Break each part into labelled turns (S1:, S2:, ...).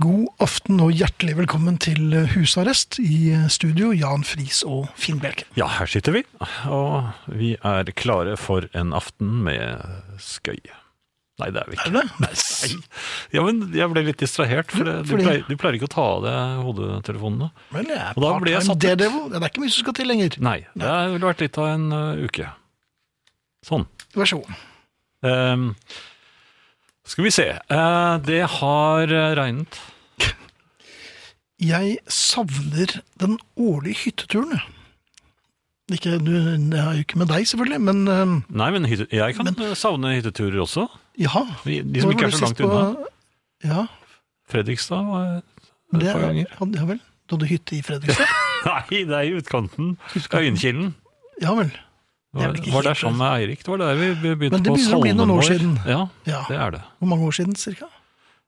S1: God aften og hjertelig velkommen til husarrest i studio, Jan Friis og Finn Bjelke.
S2: Ja, her sitter vi, og vi er klare for en aften med skøy. Nei, det er vi
S1: Er
S2: ikke.
S1: det det?
S2: Ja, men jeg ble litt distrahert, for det, du,
S1: Fordi-
S2: pleier, du pleier ikke å ta av deg hodetelefonene.
S1: Men det er
S2: Og da ble
S1: part-time
S2: jeg satt ut.
S1: daredevil. Det er ikke mye som skal til lenger.
S2: Nei, det har vel vært litt av en ø, uke. Sånn.
S1: Vær så god.
S2: Ehm, skal vi se. Eh, det har eh, regnet.
S1: Jeg savner den årlige hytteturen. jeg. Ikke, du, det er jo ikke med deg, selvfølgelig, men eh, øhm,
S2: Nei, men hytte, jeg kan eh, savne hytteturer også.
S1: ja.
S2: De, de som
S1: Når var
S2: ikke
S1: du
S2: er så
S1: sist
S2: langt unna.
S1: Ja,
S2: Fredrikstad var et
S1: det,
S2: par
S1: ja,
S2: ganger.
S1: ja vel. Du hadde hytte i Fredrikstad?
S2: Nei, det er i utkanten. Øyenkilen.
S1: Ja vel. Det er
S2: Var,
S1: vel ikke altså.
S2: var der
S1: helt
S2: sammen med Eirik. Det var der vi be- begynte
S1: Men det
S2: på
S1: begynner å bli noen år
S2: Salmen
S1: siden.
S2: vår. Ja,
S1: Ja.
S2: det er det.
S1: Hvor mange år siden, cirka?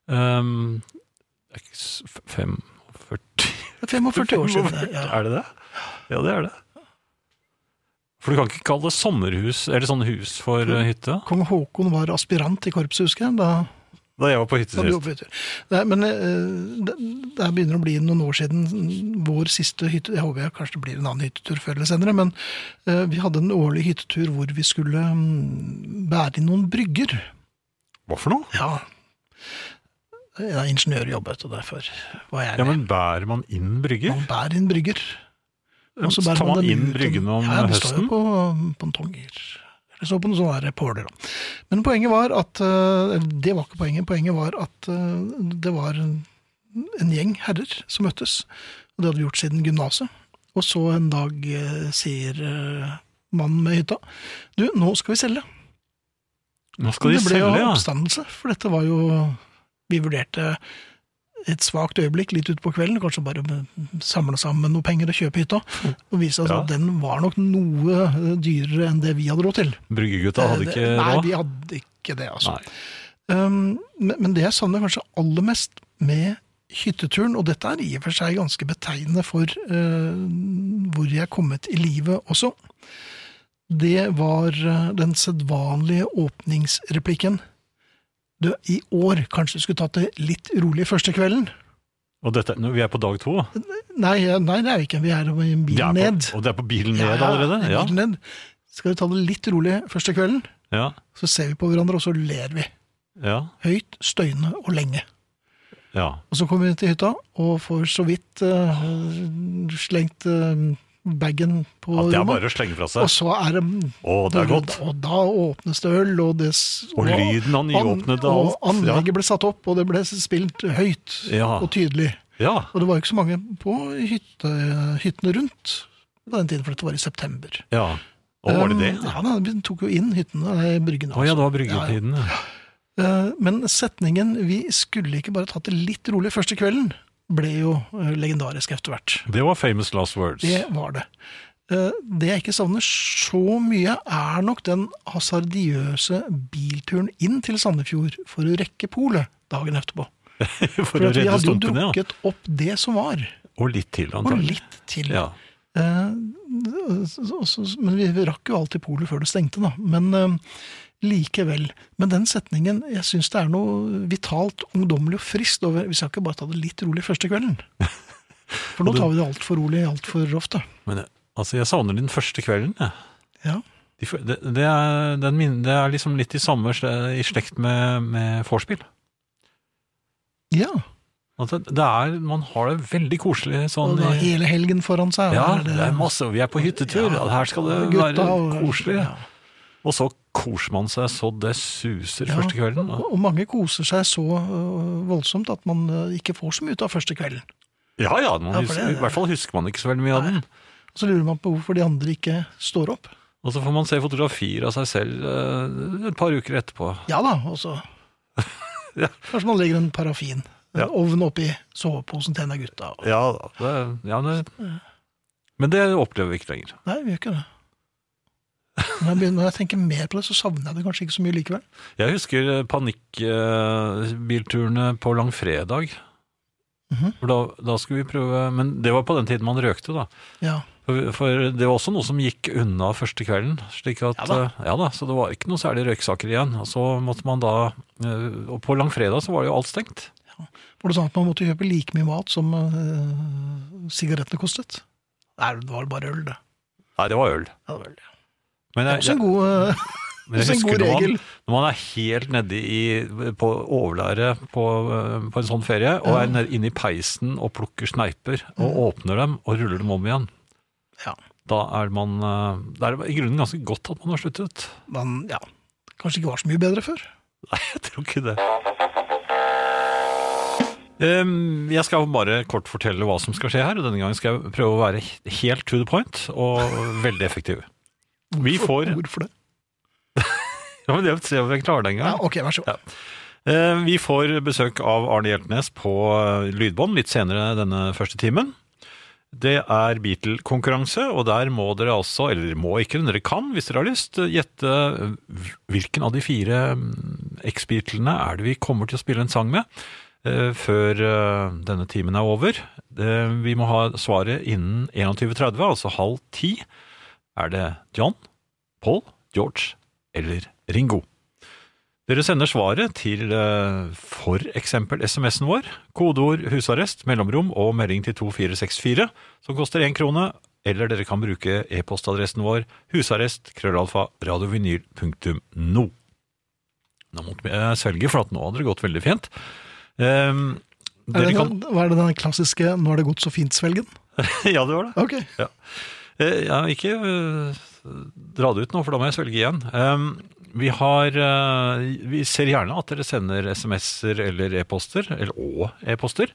S2: Ehm, det er ikke s- f- 45
S1: Det er 45 år siden. det, Ja.
S2: Er det det? Ja, det er det. For du kan ikke kalle det sommerhus, eller sånn hus for eh, hytte?
S1: Kong Haakon var aspirant i korpset, husker jeg. Da
S2: Da jeg var på
S1: Da blir
S2: hyttesist.
S1: det oppbytter. Nei, men eh, det, det her begynner å bli noen år siden vår siste hytte. Jeg håper jeg kanskje det blir en annen hyttetur før eller senere, men eh, vi hadde en årlig hyttetur hvor vi skulle mm, bære inn noen brygger.
S2: Hva for noe?
S1: Ja. Jeg er ingeniørjobb, vet du, derfor var jeg
S2: Ja, men bærer man inn brygger?
S1: Man bærer inn brygger. og så bærer
S2: tar man
S1: dem
S2: inn
S1: ut, og-
S2: bryggene om
S1: ja, det står jo
S2: høsten?
S1: på pontonger. Eller så på noen sånne der påler. da. Men poenget var at eh, eller Det var ikke poenget. Poenget var at eh, det var en en gjeng herrer som møttes. Og det hadde vi gjort siden gymnaset. Og så en dag eh, sier eh, mannen med hytta Du, nå skal vi selge.
S2: Nå skal de
S1: det ble jo
S2: selge, ja.
S1: oppstandelse, for dette var jo Vi vurderte et svakt øyeblikk litt utpå kvelden, kanskje bare samle sammen noe penger og kjøpe hytta. Og vise oss
S2: Mm. Ja.
S1: at den var nok noe dyrere enn det vi hadde råd til.
S2: Bryggegutta hadde ikke
S1: Eh, det- Nei,
S2: råd.
S1: vi hadde ikke det, altså.
S2: Nei.
S1: Um, men, men det jeg savner kanskje aller mest med hytteturen, og dette er i og for seg ganske betegnende for eh, hvor jeg er kommet i livet også, det var eh, den sedvanlige åpningsreplikken. Du, I år kanskje du skulle tatt det litt rolig første kvelden?
S2: Og dette, nå, vi er på dag to.
S1: Nei, eh, nei, det er vi ikke. Vi er i en
S2: Vi
S1: bil
S2: er på,
S1: ned.
S2: og det er på bilen ned
S1: Ja,
S2: allerede? Ja.
S1: bil ned. Skal du ta det litt rolig første kvelden,
S2: ja.
S1: så ser vi på hverandre, og så ler vi.
S2: ja.
S1: Høyt, støyende og lenge.
S2: ja.
S1: Og så kommer vi til hytta og får så vidt eh, slengt eh, bagen på
S2: At det er
S1: rommet.
S2: bare å slenge fra
S1: Og
S2: seg.
S1: så er det
S2: Å, det er godt.
S1: Og da åpnes det øl, og det s-
S2: Og lyden av nyåpnede
S1: og
S2: alt. Ja.
S1: anlegget ble satt opp, og det ble spilt høyt
S2: Ja.
S1: og tydelig.
S2: Ja.
S1: Og det var jo ikke så mange på hytte, hyttene rundt på den tiden, for dette var i september.
S2: ja. Å, var det det?
S1: Um, Ja, da, vi tok jo inn hyttene, nei, bryggene.
S2: Å ja,
S1: altså.
S2: det
S1: Ja, ja.
S2: var bryggetiden. Ja.
S1: Eh, Men setningen 'vi skulle ikke bare tatt det litt rolig første kvelden' ble jo eh, legendarisk etter hvert.
S2: Det var famous last words.
S1: Det var det. Eh, Det jeg ikke savner så mye, er nok den hasardiøse bilturen inn til Sandefjord for å rekke polet dagen etterpå.
S2: For
S1: For
S2: å
S1: at vi hadde
S2: redde
S1: jo
S2: stumpene, ja.
S1: drukket opp det som var,
S2: Og litt til,
S1: og
S2: antagelig.
S1: litt til.
S2: Ja.
S1: Eh, så- så- Men vi rakk jo alltid polet før det stengte, da. Men eh, likevel. Men den setningen, jeg syns det er noe vitalt, ungdommelig og friskt over Vi skal ikke bare ta det litt rolig første kvelden. For nå
S2: Og det-
S1: tar vi det altfor rolig altfor ofte.
S2: Men eh, altså, jeg savner den første kvelden, jeg.
S1: Ja.
S2: De fø- Det, det, er, den min- det er liksom litt i samme sle- i slekt med, med vorspiel.
S1: ja.
S2: At det, det er, man har det veldig koselig sånn
S1: Og da
S2: i-
S1: hele helgen foran seg.
S2: Ja,
S1: og
S2: det er masse. og Vi er på hyttetur,
S1: Ja,
S2: og her skal det
S1: gutta
S2: være
S1: og-
S2: koselig.
S1: ja.
S2: Og så koser man seg så det suser
S1: Ja.
S2: første kvelden.
S1: Og
S2: da.
S1: og mange koser seg så øh, voldsomt at man øh, ikke får så mye ut av første kvelden.
S2: Ja ja, man
S1: Ja, for
S2: husker,
S1: det-
S2: i hvert fall husker man ikke så veldig mye av den.
S1: Så lurer man på hvorfor de andre ikke står opp.
S2: Og så får man se fotografier av seg selv eh, et par uker etterpå.
S1: Ja da, og så
S2: Ja.
S1: Kanskje man legger en parafin. En
S2: Ja.
S1: ovn oppi soveposen til en av gutta. og-
S2: Ja da. Det, ja, det, men det opplever vi ikke lenger.
S1: Nei, vi gjør ikke det. Når jeg, begynner, når jeg tenker mer på det, så savner jeg det kanskje ikke så mye likevel.
S2: Jeg husker eh, panikkbilturene på langfredag.
S1: Mhm.
S2: For da, da skulle vi prøve Men det var på den tiden man røkte, da.
S1: Ja.
S2: For, for det var også noe som gikk unna første kvelden. Slik at,
S1: Ja
S2: ja,
S1: da.
S2: da. ja da, Så det var ikke noe særlig røyksaker igjen. Og så måtte man da eh, Og på langfredag så var jo alt stengt.
S1: Var det sånn at man måtte kjøpe like mye mat som eh, sigarettene kostet? Nei, det var bare øl, det.
S2: Nei, det var øl.
S1: Ja, det var øl, ja.
S2: Men
S1: Det er også en god, eh,
S2: Men jeg
S1: Også en
S2: husker
S1: god
S2: når man,
S1: regel.
S2: når man er helt nedi i, på overlæret på, eh, på en sånn ferie, og er ned- inne i peisen og plukker sneiper, og åpner dem og ruller dem om igjen,
S1: Mm. ja,
S2: da er man eh, Da er det i grunnen ganske godt at man har sluttet.
S1: men ja, kanskje ikke var så mye bedre før.
S2: Nei, jeg tror ikke det. Ehm, Jeg skal bare kort fortelle hva som skal skje her. og Denne gangen skal jeg prøve å være helt to the point og veldig effektiv. Vi får
S1: Hvorfor det?
S2: Ja, men det Se om jeg klarer det en
S1: Ja,
S2: gang.
S1: ok, vær så god.
S2: Ja. Eh, Vi får besøk av Arne Hjeltnes på eh, lydbånd litt senere denne første timen. Det er Beatle-konkurranse, og der må dere altså, eller dere må ikke, men dere kan hvis dere har lyst, eh, gjette eh, hvilken av de fire mm, X-Beatlene er det vi kommer til å spille en sang med eh, før eh, denne timen er over. Det- Vi må ha svaret innen 21.30, altså halv ti. Er det John, Paul, George eller Ringo? Dere sender svaret til eh, for eksempel SMS-en vår, kodeord husarrest, mellomrom og melding til 2464, som koster én krone, eller dere kan bruke e-postadressen vår husarrest krøllalfa radiovinyl.no. Nå måtte jeg svelge, for at nå hadde det gått veldig fint. Ehm,
S1: Er
S2: dere
S1: det
S2: kan,
S1: den, hva er det den klassiske 'nå har det gått så fint'-svelgen?
S2: ja, det var det.
S1: Ok.
S2: Eh, Ja, ikke eh, dra det ut nå, for da må jeg svelge igjen. Ehm, vi, har, eh, vi ser gjerne at dere sender SMS-er eller e-poster, eller og e-poster,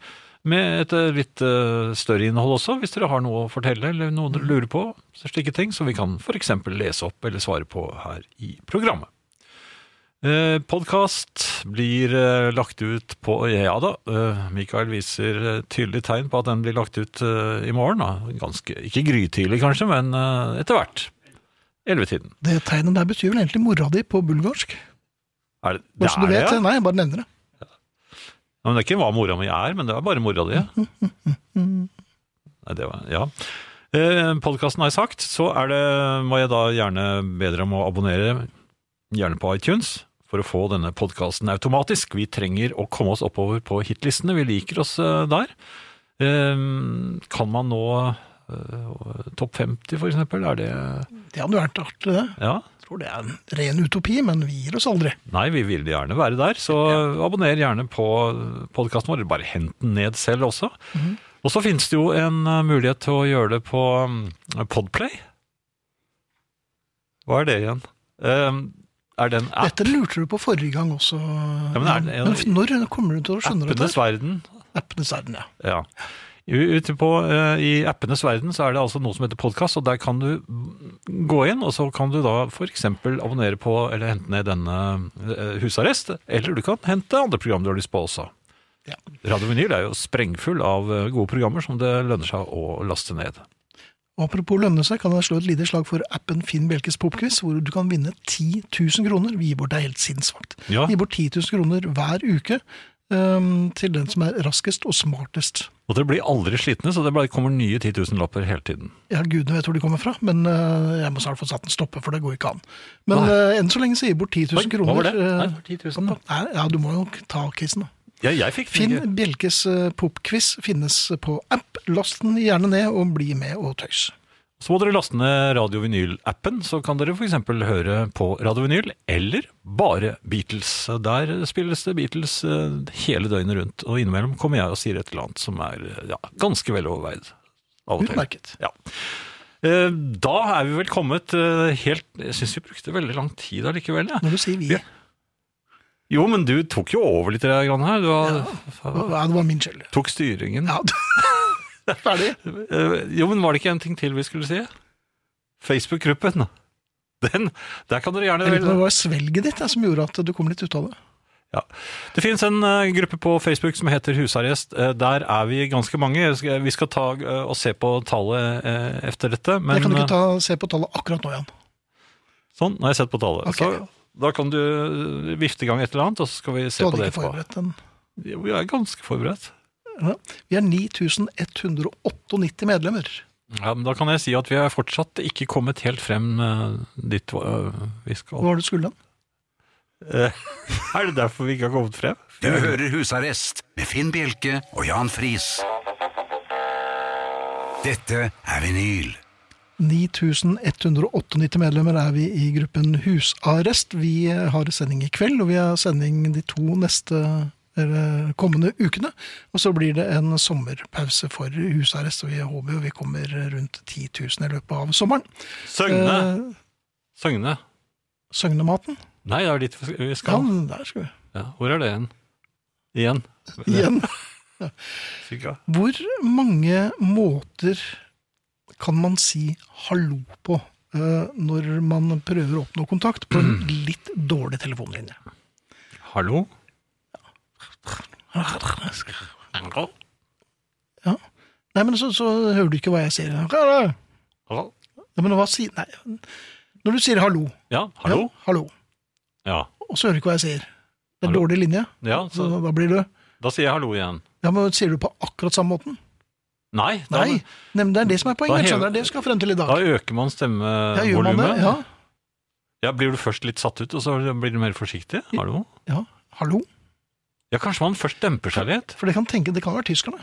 S2: med et eh, litt eh, større innhold også, hvis dere har noe å fortelle eller noe dere lurer på, så slike ting, som vi kan f.eks. lese opp eller svare på her i programmet. Eh, Podkast blir eh, lagt ut på Ja da, eh, Mikael viser eh, tydelig tegn på at den blir lagt ut eh, i morgen. Da. Ganske, ikke grytidlig kanskje, men eh, etter hvert. Ellevetiden.
S1: Det tegnet der betyr vel egentlig mora di på bulgarsk?
S2: Er det, det
S1: Bare så du
S2: er det,
S1: vet
S2: ja?
S1: det. Nei, jeg bare nevner det.
S2: Ja, men det er ikke hva mora mi er, men det er bare mora di. ja.
S1: Mm.
S2: Nei, det var, ja. Eh, Podkasten har jeg sagt, så er det, må jeg da gjerne be dere om å abonnere, gjerne på iTunes, for å få denne podkasten automatisk. Vi trenger å komme oss oppover på hitlistene, vi liker oss eh, der. Eh, kan man nå eh, topp 50 for eksempel, er det
S1: Det hadde jo vært artig, det.
S2: Ja?
S1: Jeg tror det er en ren utopi, men vi gir oss aldri.
S2: Nei, vi vil gjerne være der, så abonner gjerne på podkasten vår. Bare hent den ned selv også.
S1: Mhm.
S2: Og så finnes det jo en eh, mulighet til å gjøre det på mm, Podplay. Hva er det igjen? Eh, er det en app?
S1: Dette lurte du på forrige gang også.
S2: men er det-
S1: Men f- når kommer du til å skjønne dette?
S2: Appenes verden.
S1: Appenes verden, ja.
S2: Ja. U- Ute på, eh, I appenes verden så er det altså noe som heter podkast, og der kan du gå inn, og så kan du da f.eks. abonnere på eller hente ned denne eh, Husarrest, eller du kan hente andre program du har lyst på også.
S1: Ja.
S2: Radio Vinyl er jo sprengfull av eh, gode programmer som det lønner seg å laste ned.
S1: Og apropos lønne seg, kan jeg slå et lite slag for appen Finn Bjelkes popquiz, hvor du kan vinne 10 000 kroner. Vi gir bort det er helt sinnssvakt.
S2: Ja.
S1: Vi gir bort 10 000 kroner hver uke øhm, til den som er raskest og smartest.
S2: Og dere blir aldri slitne, så det bare kommer nye 10 000-lapper hele tiden.
S1: Ja, gudene vet hvor de kommer fra, men øh, jeg må snart få satt en stopper, for det går ikke an. Men øh, enn så lenge så gir vi bort 10 000
S2: Oi, hva
S1: kroner.
S2: var det?
S1: øh,
S2: Nei, 10 000 da.
S1: Nei, ja, du må jo ta quizen, da.
S2: Jeg, jeg fikk
S1: Finn Bjelkes eh, popquiz finnes på app. Last den gjerne ned, og bli med og tøys.
S2: Så må dere laste ned Radio Vinyl-appen, så kan dere f.eks. høre på Radio Vinyl eller bare Beatles. Der spilles det Beatles eh, hele døgnet rundt, og innimellom kommer jeg og sier et eller annet som er eh, ja, ganske veloverveid. Av og til.
S1: Utmerket.
S2: Ja. Eh, Da er vi vel kommet eh, helt Jeg syns vi brukte veldig lang tid allikevel. Ja.
S1: Når du sier vi
S2: Ja. Jo, men du tok jo over litt grann her. Du har,
S1: Ja, det var min skyld.
S2: tok styringen.
S1: Ja. Ferdig.
S2: Eh, Jo, men var det ikke en ting til vi skulle si? Facebook-gruppen. Den, der kan dere gjerne
S1: Jeg lurer på om det var svelget ditt jeg, som gjorde at du kom litt ut av det.
S2: Ja. Det finnes en eh, gruppe på Facebook som heter Husarrest. Eh, der er vi ganske mange. Jeg skal- Vi skal ta eh, og se på tallet eh, etter dette. Men
S1: jeg kan ikke
S2: eh,
S1: ta, se på tallet akkurat nå, Jan.
S2: sånn, nå har jeg sett på tallet.
S1: Ok.
S2: Så da kan du eh, vifte i gang et eller annet, og så skal vi
S1: Du
S2: se på
S1: hadde
S2: det
S1: ikke
S2: etterpå.
S1: forberedt den.
S2: Jo, Vi er ganske forberedt.
S1: Vi er 9198 medlemmer.
S2: Ja, men da kan jeg si at vi er fortsatt ikke kommet helt frem eh, dit eh, vi
S1: Hva
S2: skal.
S1: var det du skulle?
S2: Eh, er det derfor vi ikke har kommet frem?
S3: Du
S1: Eh,
S3: hører Husarrest med Finn Bjelke og Jan Friis. Dette er vinyl.
S1: 9198 medlemmer er vi i gruppen Husarrest. Vi har sending i kveld, og vi har sending de to neste eller kommende ukene. Og så blir det en sommerpause for husarrest, og vi håper jo vi kommer rundt 10 000 i løpet av sommeren.
S2: Søgne!
S1: Eh,
S2: Søgne.
S1: Søgnematen?
S2: Nei, det er dit vi
S1: Ja,
S2: skal.
S1: der skal vi.
S2: Ja, hvor er det igjen? Igjen.
S1: Igjen.
S2: Cirka.
S1: Hvor mange måter kan man si hallo på eh, når man prøver å oppnå kontakt på en litt dårlig telefonlinje?
S2: Hallo?
S1: Nei, men så, så hører du ikke hva jeg sier. Hallo! Ja, men hva sier Nei. Når du sier hallo,
S2: Ja, hallo?
S1: Ja, hallo
S2: Ja.
S1: og så hører du ikke hva jeg sier. Det er en
S2: Hallo.
S1: dårlig linje.
S2: ja
S1: Så
S2: så,
S1: da blir du
S2: da sier jeg hallo igjen.
S1: Ja, men Sier du på akkurat samme måten?
S2: Nei, da,
S1: Nei! Nei, men det er det som er
S2: Da
S1: poenget.
S2: hever-
S1: Skjønner du? Det er det vi skal frem til i dag.
S2: da øker
S1: Ja, gjør
S2: man
S1: man det?
S2: stemmevolumet.
S1: Ja.
S2: Ja, blir du først litt satt ut, og så blir du mer forsiktig? Hallo?
S1: ja. Hallo?
S2: Ja, kanskje man først demper seg litt?
S1: For det kan tenke, det kan være tyskerne.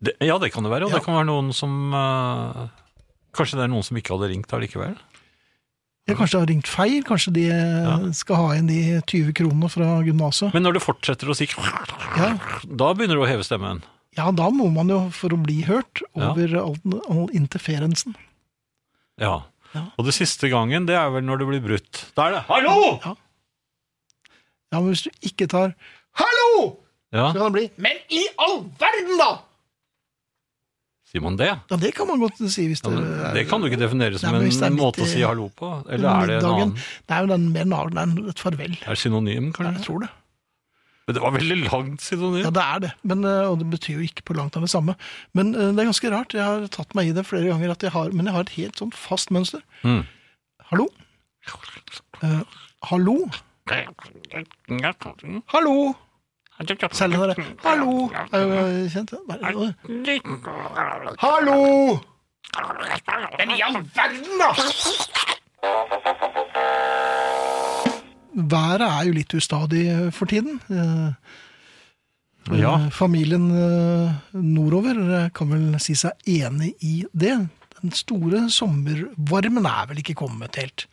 S2: Det, ja, det kan det være, og
S1: Ja.
S2: det kan være noen som eh, Kanskje det er noen som ikke hadde ringt allikevel?
S1: Ja, kanskje det har ringt feil. Kanskje de eh, skal ha igjen de 20 kronene fra gymnaset.
S2: Men når du fortsetter å si
S1: Ja.
S2: Da begynner du å heve stemmen.
S1: ja, da må man jo, for å bli hørt,
S2: Ja.
S1: over all, all interferensen.
S2: Ja.
S1: Ja.
S2: Og det siste gangen, det er vel når det blir brutt. Da er det 'hallo!'
S1: Ja, men hvis du ikke tar Hallo!
S2: Ja,
S1: Så kan det bli
S4: Men i all verden, da!
S2: sier man det?
S1: Ja, det kan man godt si hvis
S2: Ja,
S1: det,
S2: men det kan du ikke definere som
S1: Nei, men hvis det er
S2: en
S1: midt
S2: måte å
S1: i-
S2: si hallo på. Eller er det en
S1: middagen.
S2: annen?
S1: Det er jo den mer naren, det er et farvel.
S2: Er det synonym,
S1: Ja,
S2: kanskje?
S1: jeg tror det.
S2: Men det var veldig langt
S1: Ja,
S2: synonym.
S1: det er det. Men, eh, og det betyr jo ikke på langt av det samme. Men eh, det er ganske rart. Jeg har tatt meg i det flere ganger, at jeg har, men jeg har et helt sånn fast mønster.
S2: Mm.
S1: Hallo? Eh, hallo? Hallo? Selv når det er Hallo! Er jo eh, kjent. det. Bare, eh, Hallo!
S4: Men i all verden, da!
S1: Været er jo litt ustadig eh, for tiden. Eh,
S2: Ja.
S1: Eh, Familien eh, nordover eh, kan vel si seg enig i det. Den store sommervarmen er vel ikke kommet helt.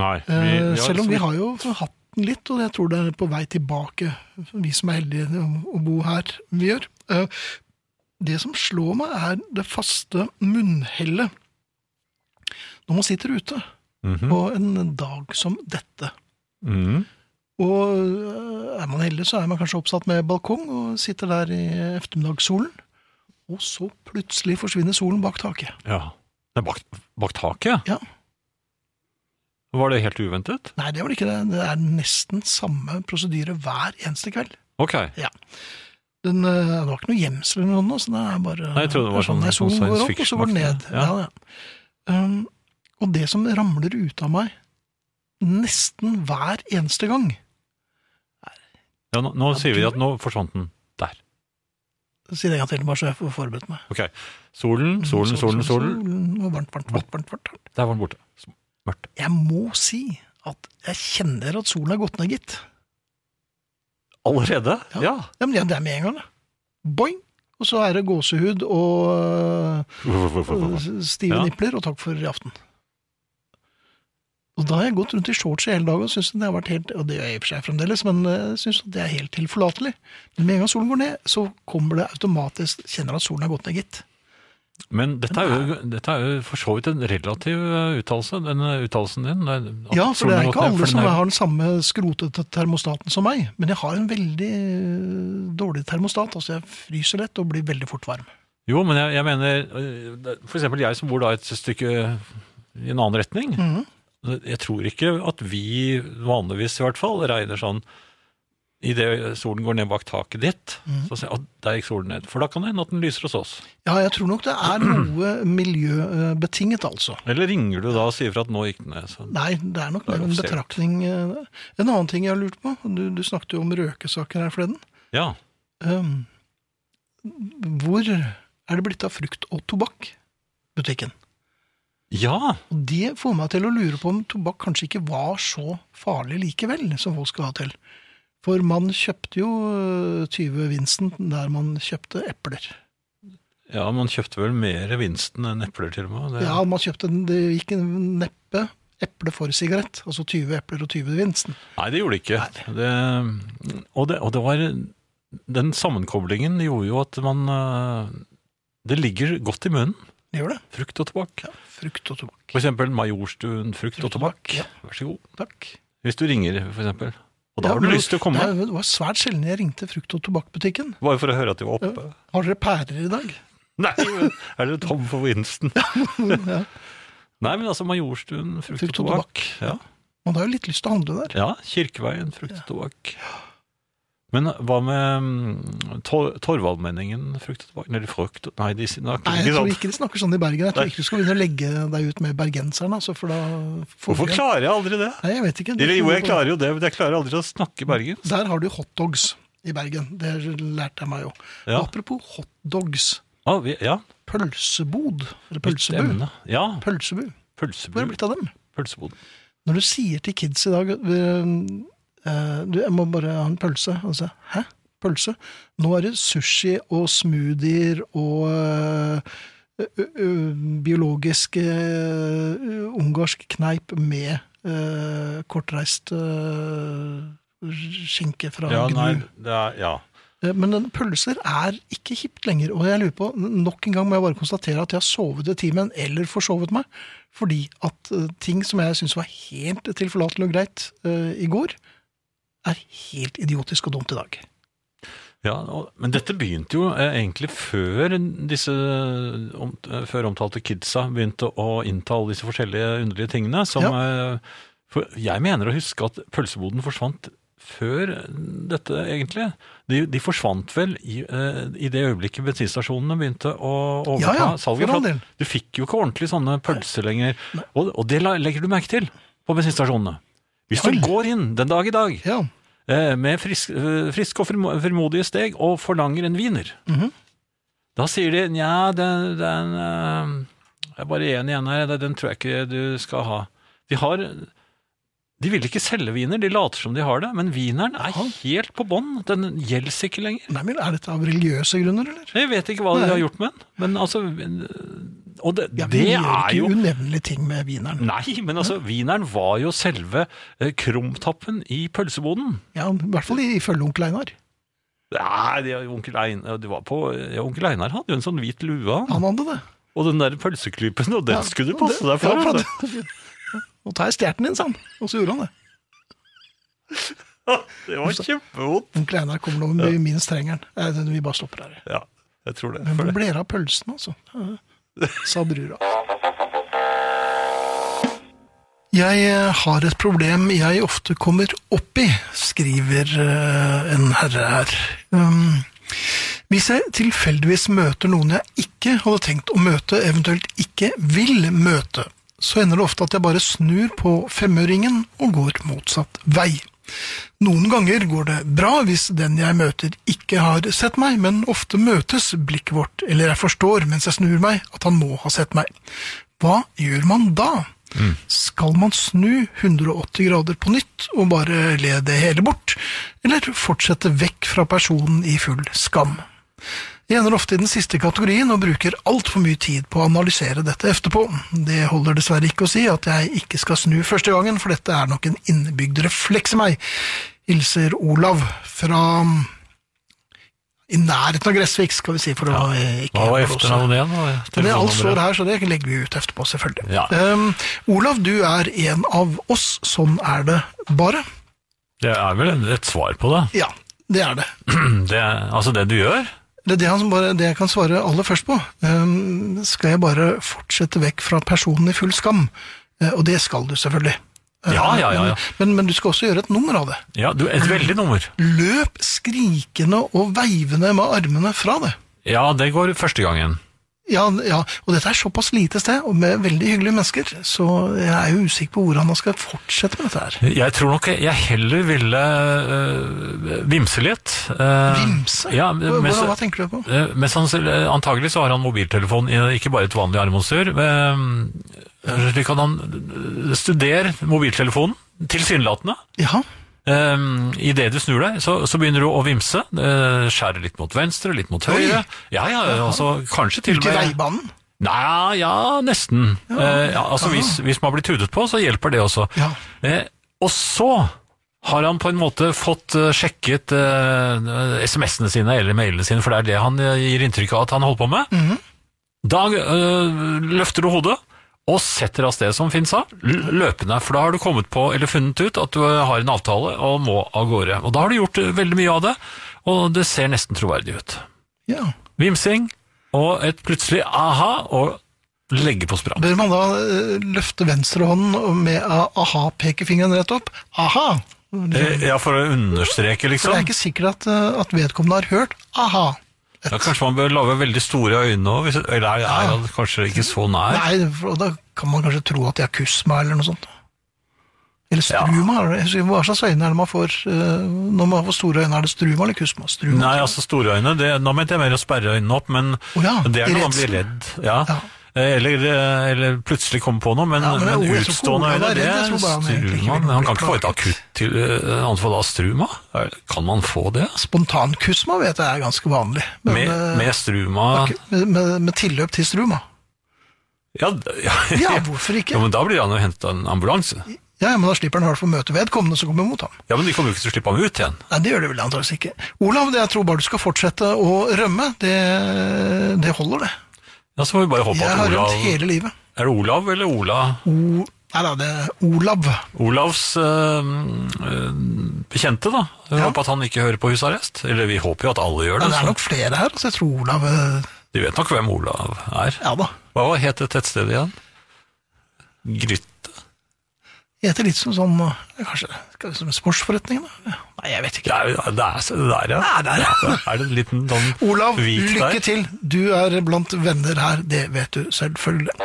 S2: Nei.
S1: Eh,
S2: vi- vi har
S1: Selv om vi
S2: liksom-
S1: har jo hatt den litt, og jeg tror det er på vei tilbake, vi som er heldige å- å bo her, vi gjør. Eh, Det som slår meg, er det faste munnhellet når man sitter ute
S2: Mhm,
S1: på en dag som dette.
S2: mhm.
S1: Og øh, er man heldig, så er man kanskje oppsatt med balkong og sitter der i ettermiddagssolen. Og så plutselig forsvinner solen bak taket.
S2: Ja. Det er bak, bak taket?
S1: Ja.
S2: Var det helt uventet?
S1: Nei, det var det ikke det. Det er nesten samme prosedyre hver eneste kveld.
S2: Ok.
S1: Den, øh, det var ikke noe gjemsel eller noe, så det er bare
S2: Nei, jeg trodde det var sånn-
S1: Nei, solen går
S2: sånn science
S1: opp, og så går den ned.
S2: fiction-aktig.
S1: Ja.
S2: Ja.
S1: Ja, Um, og det som ramler ut av meg nesten hver eneste gang,
S2: Ja, nå nå sier vi at nå forsvant den. Der.
S1: sier jeg en gang til, bare så jeg får forberedt meg.
S2: Ok. Solen, solen,
S1: Mm,
S2: solen, solen.
S1: solen og varmt, varmt, varmt, varmt, varmt.
S2: Der var den borte. Mørkt.
S1: Jeg må si at jeg kjenner at solen har gått ned, gitt.
S2: Allerede?
S1: Ja.
S2: Ja.
S1: Ja, men det er med en gang, da. Boing! Og så er det gåsehud og øh, stive
S2: Ja.
S1: nipler, og takk for i aften. Og da har jeg gått rundt i shorts i hele dag og synes det har vært helt Og det gjør jeg i og for seg fremdeles, men jeg syns det er helt tilforlatelig. Men med en gang solen går ned, så kommer det automatisk Kjenner at solen har gått ned, gitt.
S2: Men dette er, jo, dette er jo for så vidt en relativ eh, uttalelse, denne uttalelsen din. Det er- at
S1: Ja, for det
S2: solen
S1: er
S2: har
S1: ikke
S2: gått ned,
S1: alle
S2: for
S1: som
S2: den er-
S1: har den samme skrotete termostaten som meg, men jeg har en veldig øh, dårlig termostat. Altså, jeg fryser lett og blir veldig fort varm.
S2: Jo, men
S1: Mhm.
S2: jeg, jeg mener eh, det- For eksempel jeg som bor da et stykke i en annen retning. Jeg tror ikke at vi, vanligvis i hvert fall, regner sånn Idet solen går ned bak taket ditt,
S1: Mhm.
S2: så sier jeg at der gikk solen ned. For da kan det hende at den lyser hos oss.
S1: Ja, jeg tror nok det er noe miljøbetinget, altså.
S2: Eller ringer du da og sier fra at nå gikk den ned. Så.
S1: Nei, det er nok
S2: Det er
S1: mer en
S2: offisielt.
S1: betraktning. eh, En annen ting jeg har lurt på, du, du snakket jo om røkesaker her forleden.
S2: Ja.
S1: Um, hvor er det blitt av frukt- og tobakkbutikken?
S2: ja!
S1: Og det får meg til å lure på om tobakk kanskje ikke var så farlig likevel, som folk skal ha til. For man kjøpte jo øh, 20 Vincent der man kjøpte epler.
S2: Ja, man kjøpte vel mer Winston enn epler, til og med. Det,
S1: Ja, man kjøpte, det gikk neppe eple for sigarett. Altså 20 epler og 20 Vincent.
S2: Nei, det gjorde det ikke. Det, og, det, og det var Den sammenkoblingen gjorde jo at man eh, Det ligger godt i munnen.
S1: Det gjør det.
S2: Frukt og tobakk.
S1: Frukt og tobakk.
S2: For eksempel Majorstuen frukt og tobakk.
S1: Ja.
S2: Vær så god.
S1: Takk.
S2: Hvis du ringer, for eksempel. Og da
S1: Ja,
S2: har du
S1: men
S2: lyst til å komme.
S1: Det var svært sjelden jeg ringte frukt- og tobakkbutikken.
S2: Bare for å høre at de var oppe.
S1: Har dere pærer i dag?
S2: Nei, men er dere tom for Winston?
S1: Ja.
S2: Nei, men altså Majorstuen frukt,
S1: Frukt og
S2: og tobakk. Ja.
S1: Man har jo litt lyst til å handle der.
S2: ja, Kirkeveien frukt og tobakk. Men hva med mm, Tor Torvaldmenningen frukt og tobakk? Nei, de frukt Nei, de snakker
S1: Nei, jeg tror ikke de snakker sånn i Bergen. Jeg tror
S2: Nei.
S1: ikke du skal begynne å legge deg ut med bergenserne. Altså, for da får
S2: Hvorfor
S1: vi-
S2: klarer jeg aldri det?
S1: Nei, jeg vet ikke.
S2: Eller jo, jeg klarer jo det, men jeg klarer aldri å snakke Bergen.
S1: Der har du hotdogs i Bergen. Det lærte jeg meg jo. Og
S2: Ja.
S1: Apropos hotdogs.
S2: Ah, vi, ja,
S1: Pølsebod. Eller
S2: nytt
S1: pølsebu.
S2: emne. Ja,
S1: Pølsebu. Hvor er det
S2: pølsebod.
S1: blitt av dem?
S2: Pølseboden.
S1: Når du sier til kids i dag eh, eh, du, 'Jeg må bare ha en pølse', og så 'hæ? Pølse?' Nå er det sushi og smoothier og eh, ø- ø- biologisk eh, ø- ungarsk kneip med eh, kortreist eh, skinke fra
S2: Ja, nei,
S1: Gnu.
S2: det er Ja.
S1: Eh, Men den- pølser er ikke hipt lenger, og jeg lurer på, nok en gang må jeg bare konstatere at jeg har sovet i timen, eller forsovet meg, fordi at eh, ting som jeg syns var helt tilforlatelig og greit eh, i går, er helt idiotisk og dumt i dag.
S2: Ja, og, men dette begynte jo eh, egentlig før disse om, eh, før omtalte kidsa begynte å innta alle disse forskjellige underlige tingene. Som, eh, for jeg mener å huske at pølseboden forsvant før dette, egentlig. De, de forsvant vel i, eh, i det øyeblikket bensinstasjonene begynte å overta
S1: Ja, ja,
S2: salget.
S1: for all
S2: at
S1: del.
S2: du fikk jo ikke ordentlig sånne pølser lenger. Og, og det la- legger du merke til på bensinstasjonene. Hvis
S1: Ja
S2: du
S1: vel.
S2: går inn den dag i dag
S1: Ja,
S2: eh, med frisk, eh, frisk og frimo- frimodige steg og forlanger en wiener.
S1: Mhm.
S2: Da sier de nja, den, den eh, er bare én igjen her, den- den tror jeg ikke du skal ha. De har de vil ikke selge wiener, de later som de har det, men wieneren er helt på bånn. Den gjelder ikke lenger.
S1: Nei, men Er dette av religiøse grunner, eller?
S2: Jeg vet ikke hva de
S1: Nei.
S2: har gjort med den, men altså eh, Og det,
S1: Ja, vi
S2: det
S1: gjør
S2: er
S1: ikke
S2: jo
S1: unevnelige ting med wieneren.
S2: Nei, men altså, wieneren var jo selve eh, krumtappen i pølseboden.
S1: Ja, I hvert fall ifølge onkel Einar.
S2: Nei, det, onkel, Einar, det var på, ja, onkel Einar hadde jo en sånn hvit lue, han.
S1: Han hadde det.
S2: Og den der pølseklypen, og den
S1: Ja,
S2: skulle du
S1: og
S2: passe
S1: det-
S2: deg for.
S1: Ja,
S2: vet du.
S1: for at- Nå tar jeg stjerten din, sa han. Og så gjorde han det.
S2: det var kjempevondt.
S1: Onkel Einar kommer nå med minst trengeren. Eh, Vi bare stopper her.
S2: Ja, jeg tror det.
S1: Men
S2: For
S1: hvor
S2: det.
S1: ble det av pølsen, altså? Ja, Sa brura. Jeg eh, har et problem jeg ofte kommer opp i, skriver eh, en herre her. Um, Hvis jeg tilfeldigvis møter noen jeg ikke hadde tenkt å møte, eventuelt ikke vil møte, så ender det ofte at jeg bare snur på femøringen og går motsatt vei. Noen ganger går det bra hvis den jeg møter ikke har sett meg, men ofte møtes blikket vårt, eller jeg forstår mens jeg snur meg at han må ha sett meg. Hva gjør man da?
S2: Mm.
S1: Skal man snu 180 grader på nytt og bare le det hele bort, eller fortsette vekk fra personen i full skam? Jeg ender ofte i den siste kategorien og bruker altfor mye tid på å analysere dette etterpå. Det holder dessverre ikke å si at jeg ikke skal snu første gangen, for dette er nok en innebygd refleks i meg. Hilser Olav fra i nærheten av Gressvik, skal vi si, for å eh, ikke
S2: Hva var
S1: blåse.
S2: efternavnet igjen? og
S1: Men det alt står
S2: telefonnummeret?
S1: her, så det legger vi ut etterpå, selvfølgelig.
S2: Ja.
S1: Ehm, Olav, du er en av oss. Sånn er det bare.
S2: Det er vel et svar på det.
S1: Ja, det er det.
S2: det altså det du gjør?
S1: Det er det, han som bare, det jeg kan svare aller først på. Ehm, skal jeg bare fortsette vekk fra personen i full skam? Eh, Og det skal du selvfølgelig. Eh,
S2: Ja, ja, ja, ja.
S1: Men, men du skal også gjøre et nummer av det.
S2: Ja, du, et veldig nummer.
S1: Løp skrikende og veivende med armene fra det.
S2: Ja, det går første gangen.
S1: Ja, ja, og dette er såpass lite sted, og med veldig hyggelige mennesker, så jeg er jo usikker på hvordan man skal fortsette med dette her.
S2: Jeg tror nok jeg heller ville øh, vimse litt. øh,
S1: Vimse?
S2: Ja,
S1: hva,
S2: mest,
S1: hva, hva tenker du på?
S2: øh, mest sannsynlig- antagelig så har han mobiltelefon, i- ikke bare et vanlig armbåndsur. øh, Slik at han øh, studerer mobiltelefonen, tilsynelatende.
S1: Ja,
S2: Um, I det du snur deg, så, så begynner du å vimse. Uh, skjærer litt mot venstre, litt mot høyre. Ja, ja, altså, kanskje til og
S1: ut i
S2: med
S1: veibanen.
S2: Nei, ja, nesten. Eh, ja, altså,
S1: ja.
S2: hvis, hvis man blir tudet på, så hjelper det også.
S1: Ja.
S2: Eh, og så har han på en måte fått eh, sjekket eh, SMS-ene sine eller mailene sine, for det er det han eh, gir inntrykk av at han holder på med.
S1: Mhm.
S2: Da eh, løfter du hodet og setter av sted, som Finn sa, l- løpende. For da har du kommet på, eller funnet ut at du eh, har en avtale og må av gårde. Og da har du gjort eh, veldig mye av det, og det ser nesten troverdig ut
S1: Ja.
S2: vimsing og et plutselig aha og legge på sprang.
S1: Bør man da eh, løfte venstrehånden og med eh, aha-pekefingeren rett opp? Aha! For
S2: Eh, Ja, for å understreke,
S1: det er
S2: liksom.
S1: ikke sikkert at, eh, at vedkommende har hørt aha.
S2: Ja, kanskje man bør lage veldig store øyne òg, eller er er han kanskje ikke så nær?
S1: Nei, for da kan man kanskje tro at de har kuss meg eller noe sånt. Eller struma, er det- jeg husker- hva slags øyne er det man får eh, når man får store øyne? Er det struma eller kusma? Struma.
S2: Nei, altså store øyne, det, nå mente jeg mer å sperre øynene opp, men
S1: Å ja,
S2: det er
S1: i
S2: når man
S1: redsel.
S2: blir redd. Ja.
S1: Ja.
S2: Eh, Eller, eh, eller plutselig kommer på noe, men,
S1: Ja, men det er
S2: men,
S1: ordet som
S2: utstående
S1: Olav er
S2: øyne,
S1: redd,
S2: det
S1: jeg
S2: er
S1: tror bare han egentlig ikke
S2: struma.
S1: vil
S2: Men han
S1: bli
S2: kan ikke få et
S1: plaget.
S2: akutt til, eh, anfall av struma? Er- Kan man få det?
S1: Spontan kusma vet jeg er ganske vanlig. Men,
S2: Med,
S1: eh,
S2: med struma
S1: med, med, med tilløp til struma.
S2: Ja, d- ja,
S1: Ja, hvorfor
S2: Ja,
S1: ikke?
S2: men da blir han jo henta en ambulanse.
S1: Ja, men da slipper han i hvert fall møte vedkommende som kommer mot ham.
S2: Ja, men de kommer jo ikke til å slippe ham ut igjen.
S1: Nei, det gjør det vel antakeligvis ikke. Olav, det jeg tror bare du skal fortsette å rømme. Det, det holder, det.
S2: Ja, så får vi bare håpe
S1: Jeg
S2: at
S1: har
S2: Olav
S1: rømt hele livet.
S2: Er det Olav eller Ola?
S1: O... Nei da, det er Olav.
S2: Olavs øh, øh, bekjente, da. Vi håper at han ikke hører på husarrest. Eller vi håper jo at alle gjør det.
S1: Men det er
S2: så
S1: nok flere her, så jeg tror Olav eh,
S2: De vet nok hvem Olav er.
S1: Ja da.
S2: Hva var- het det tettstedet igjen? Grytte?
S1: Heter litt som sånn eh, Kanskje skal vi- som sportsforretningen, da? Ja. Nei, jeg vet ikke.
S2: Det er, det er så- det der, ja. ja. Er det en liten sånn
S1: Olav,
S2: vik
S1: lykke
S2: der?
S1: til. Du er blant venner her, det vet du selvfølgelig.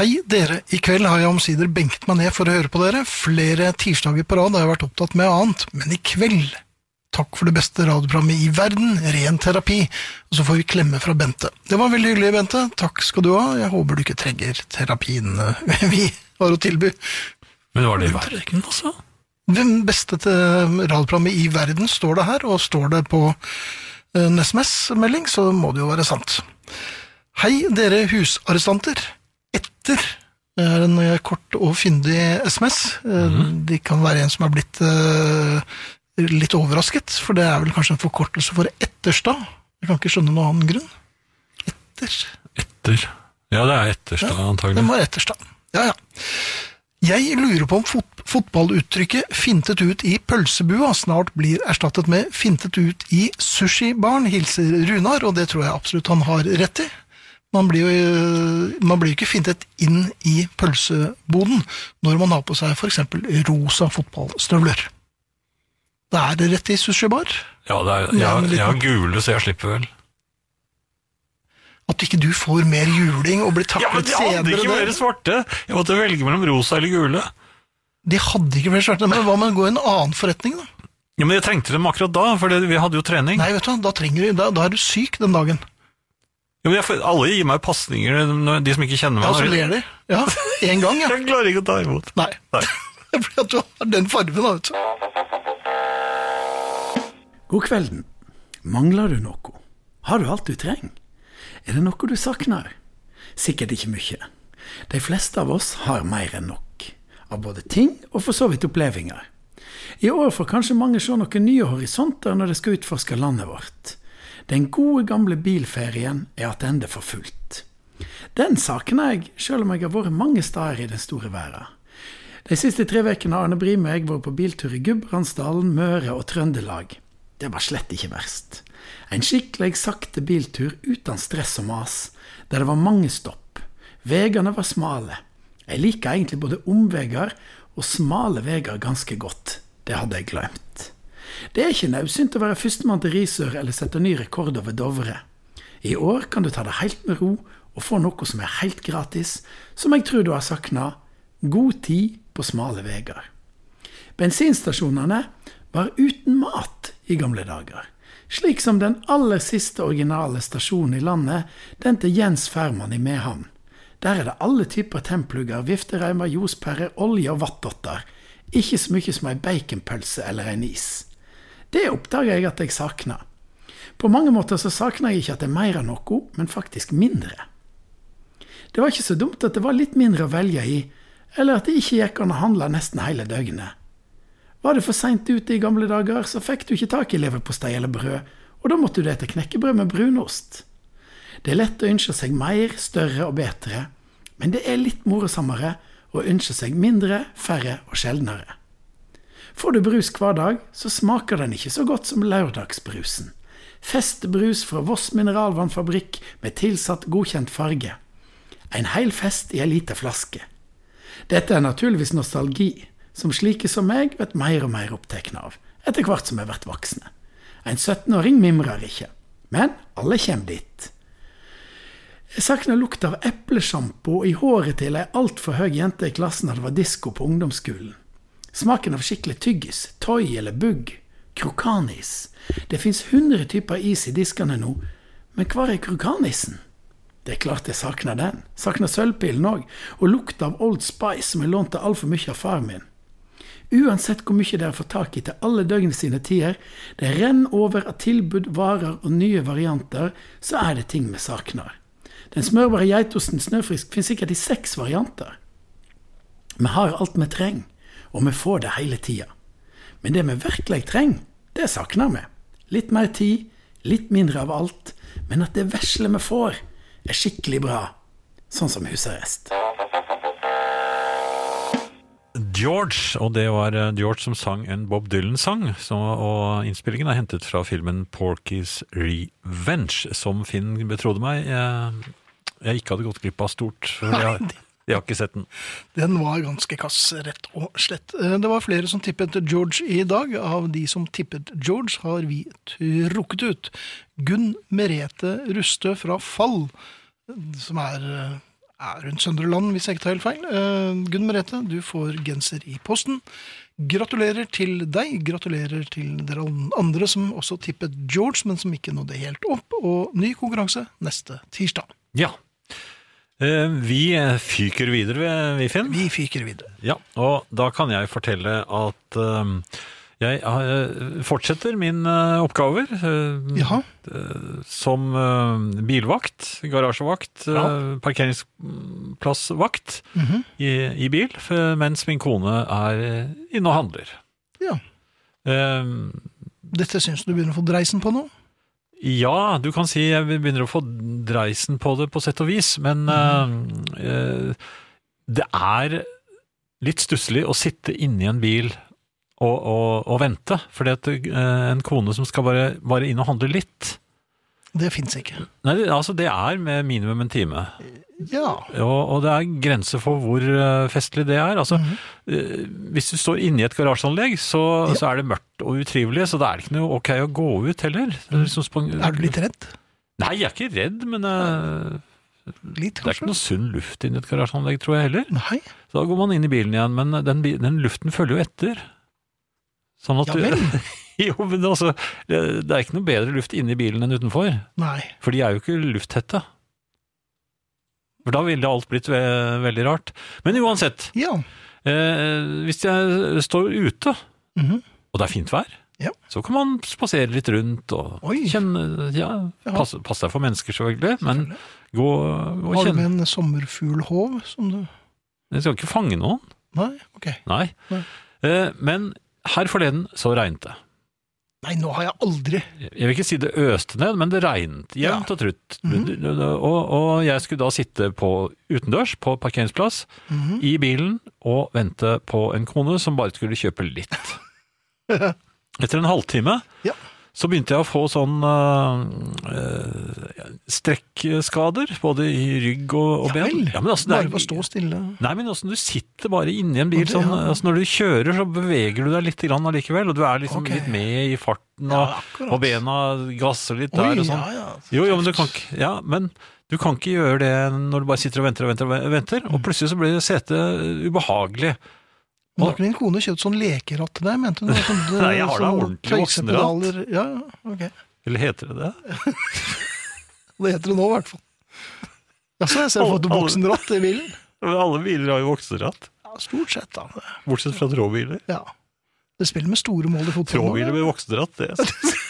S1: Hei dere, i kveld har jeg omsider benket meg ned for å høre på dere. Flere tirsdager på rad har jeg vært opptatt med annet, men i kveld Takk for det beste radioprogrammet i verden, ren terapi. Og så får vi klemme fra Bente. Det var veldig hyggelig, Bente. Takk skal du ha. Jeg håper du ikke trenger terapien eh, vi har å tilby.
S2: Men var det i verden, altså?
S1: Den beste til radioprogrammet i verden står det her, og står det på eh, en SMS-melding, så må det jo være sant. Hei, dere husarrestanter. Etter er en eh, kort og fyndig SMS. Eh, Det kan være en som er blitt eh, litt overrasket, for det er vel kanskje en forkortelse for etterstad. Jeg kan ikke skjønne noen annen grunn. Etter.
S2: Etter. Ja, det er Etterstad, antagelig.
S1: Den var etterstad. Ja, ja. Jeg lurer på om fot fotballuttrykket 'fintet ut i pølsebua' snart blir erstattet med 'fintet ut i sushibaren', hilser Runar, og det tror jeg absolutt han har rett i. Man blir jo øh, man blir jo ikke fintet inn i pølseboden når man har på seg f.eks. rosa fotballstøvler. Da er det rett i sushibar.
S2: Ja, det er,
S1: Ja, men
S2: jeg,
S1: litt-
S2: jeg har gule, så jeg slipper vel.
S1: At ikke du får mer juling og blir
S2: Ja, men
S1: taklet
S2: de hadde ikke
S1: senere.
S2: mer
S1: der.
S2: svarte! Jeg måtte velge mellom rosa eller gule.
S1: De hadde ikke flere svarte, men hva med å gå i en annen forretning, da?
S2: Ja, Men jeg trengte dem akkurat da, for det, vi hadde jo trening.
S1: Nei, vet du, hva, da, trenger du, da, da er du syk den dagen.
S2: Ja, men jeg, får- alle gir meg pasninger, når- de som ikke kjenner meg.
S1: Ja, så
S2: når-
S1: ler de. Ja, én gang, ja.
S2: jeg klarer ikke å ta imot.
S1: Nei.
S2: Nei.
S1: Fordi at du har den fargen, da, vet du.
S5: God kvelden. Mangler du noe? Har du alt du trenger? Er det noe du savner? Sikkert ikke mye. De fleste av oss har mer enn nok. Av både ting og for så vidt opplevelser. I år får kanskje mange se noen nye horisonter når de skal utforske landet vårt. Den gode, gamle bilferien er tilbake for fullt. Den savner jeg, sjøl om jeg har vært mange steder i den store verden. De siste tre ukene har Arne Brim og jeg vært på biltur i Gudbrandsdalen, Møre og Trøndelag. Det var slett ikke verst. En skikkelig sakte biltur uten stress og mas, der det var mange stopp. Vegene var smale. Jeg liker egentlig både omveier og smale veier ganske godt. Det hadde jeg glemt. Det er ikke naudsynt å være førstemann til Risør eller sette ny rekord over Dovre. I år kan du ta det helt med ro og få noe som er helt gratis, som jeg tror du har savna. God tid på smale veier. Bensinstasjonene var uten mat i gamle dager. Slik som den aller siste originale stasjonen i landet, den til Jens Færmann i Mehamn. Der er det alle typer templugger, viftereimer, juicepærer, olje og vattdotter. Ikke så mye som ei baconpølse eller en is. Det oppdager jeg at jeg savner. På mange måter så savner jeg ikke at det er mer av noe, men faktisk mindre. Det var ikke så dumt at det var litt mindre å velge i, eller at det ikke gikk an å handle nesten hele døgnet. Var du for seint ute i gamle dager, så fikk du ikke tak i leverpostei eller brød, og da måtte du ete knekkebrød med brunost. Det er lett å ønske seg mer, større og bedre, men det er litt morosammere å ønske seg mindre, færre og sjeldnere. Får du brus hver dag, så smaker den ikke så godt som lørdagsbrusen. Festbrus fra Voss mineralvannfabrikk med tilsatt godkjent farge. En hel fest i ei lita flaske. Dette er naturligvis nostalgi, som slike som meg vet mer og mer opptatt av, etter hvert som jeg blir voksne. En 17-åring mimrer ikke, men alle kommer dit. Jeg savner lukta av eplesjampo i håret til ei altfor høy jente i klassen da det var disko på ungdomsskolen. Smaken av skikkelig tyggis, toy eller bugg. Krokanis. Det fins 100 typer is i diskene nå, men hvor er krokanisen? Det er klart jeg savner den. Savner sølvpilen òg. Og lukta av Old Spice som jeg lånte altfor mye av far min. Uansett hvor mye dere får tak i til alle døgnet sine tider, det renner over av tilbud, varer og nye varianter, så er det ting vi savner. Den smørbare geitosten Snøfrisk finnes sikkert i seks varianter. Vi har alt vi trenger, og vi får det hele tida. Men det vi virkelig trenger, det savner vi. Litt mer tid, litt mindre av alt, men at det vesle vi får, er skikkelig bra. Sånn som husarrest.
S2: George, og det var eh, George som sang en Bob Dylan-sang. så- Og innspillingen er hentet fra filmen Porky's Revenge, som Finn betrodde meg jeg, jeg ikke hadde gått glipp av stort. for Jeg, jeg har ikke sett den.
S1: Den var ganske kass, rett og slett. Eh, Det var flere som tippet George i dag. Av de som tippet George, har vi trukket ut Gunn Merete Rustø fra Fall, som er, eh, er rundt Søndre Land, hvis jeg ikke tar helt feil. Eh, Gunn Merete, du får genser i posten. Gratulerer til deg. Gratulerer til dere andre som også tippet George, men som ikke nådde helt opp. Og ny konkurranse neste tirsdag.
S2: Ja. Eh, Vi eh, fyker videre, vi- vi, Finn.
S1: Vi fyker videre.
S2: Ja, og da kan jeg fortelle at øhm, jeg øh, fortsetter min øh, oppgaver øh,
S1: Jaha.
S2: som øh, bilvakt, garasjevakt, øh, parkeringsplassvakt
S1: Mhm.
S2: i, i bil, f- mens min kone er øh, inne og handler.
S1: Ja.
S2: Ehm,
S1: Dette syns du begynner å få dreisen på nå?
S2: Ja, du kan si jeg begynner å få dreisen på det på sett og vis, men eh, eh, det er litt stusslig å sitte inni en bil og, og, og vente, fordi at eh, en kone som skal bare, bare inn og handle litt,
S1: Det fins ikke.
S2: Nei, det, altså det er med minimum en time.
S1: Ja.
S2: Og, og det er grenser for hvor eh, festlig det er. Altså,
S1: Mhm.
S2: eh, hvis du står inni et garasjeanlegg, så, så er det mørkt og utrivelig, så det er ikke noe ok å gå ut heller. Det Er liksom spon-
S1: Mhm. Er du litt redd?
S2: Nei, jeg er ikke redd, men eh,
S1: Litt,
S2: det er
S1: kanskje?
S2: ikke noe sunn luft inni et garasjeanlegg, tror jeg heller.
S1: Nei.
S2: Så da går man inn i bilen igjen, men den, bi- den luften følger jo etter. Sånn at
S1: Ja
S2: du,
S1: vel.
S2: jo, men altså, det det er ikke noe bedre luft inni bilen enn utenfor,
S1: Nei.
S2: for de er jo ikke lufttette. For da ville alt blitt ve veldig rart. Men uansett,
S1: Ja.
S2: eh, hvis jeg står ute,
S1: Mhm.
S2: og det er fint vær,
S1: Ja.
S2: så kan man spasere litt rundt og
S1: Oi.
S2: kjenne ja,
S1: Ja.
S2: pass, pass deg for mennesker, selvfølgelig, men gå, gå og
S1: Har du
S2: kjenne
S1: med en sommerfuglhov som du
S2: Jeg skal ikke fange noen.
S1: Nei? Ok.
S2: Nei.
S1: Nei.
S2: Eh, Men her forleden så regnet det.
S1: Nei, nå har jeg aldri
S2: Jeg vil ikke si det øste ned, men det regnet jevnt og trutt.
S1: Mhm.
S2: og, og jeg skulle da sitte på utendørs, på parkeringsplass,
S1: Mhm.
S2: i bilen og vente på en kone som bare skulle kjøpe litt. Etter en halvtime
S1: Ja.
S2: så begynte jeg å få sånn eh, eh, strekkskader, både i rygg og, og
S1: Ja
S2: ben.
S1: vel.
S2: Ja, men altså, det er-
S1: Bare ved å stå stille.
S2: Nei, men altså, du sitter bare inni en bil.
S1: Ja, det-
S2: Sånn,
S1: ja.
S2: altså, når du kjører, så beveger du deg litt grann allikevel, og du er liksom
S1: Ok.
S2: litt med i farten, og,
S1: akkurat.
S2: og bena gasser litt
S1: Oi,
S2: der og sånn.
S1: ja, ja.
S2: Jo, jo, men du kan ikke Ja, men du kan ikke gjøre det når du bare sitter og venter og venter og venter, og plutselig så blir setet ubehagelig.
S1: Men har ikke din kone kjøpt sånn lekeratt til deg, mente hun? Sånn,
S2: Nei, jeg har da
S1: sånn
S2: ordentlig voksenratt.
S1: tøysepedaler. Ja, ja, ok.
S2: Eller heter det det?
S1: Det heter det nå, i hvert fall. Ja, så jeg ser for
S2: Alle-
S1: at du voksenratt i bilen.
S2: Men alle biler har jo vokseratt,
S1: Ja, stort sett, da.
S2: bortsett fra tråbiler.
S1: Ja. Det spiller med store mål i fotball. nå,
S2: Tråbiler med voksenratt, det, altså.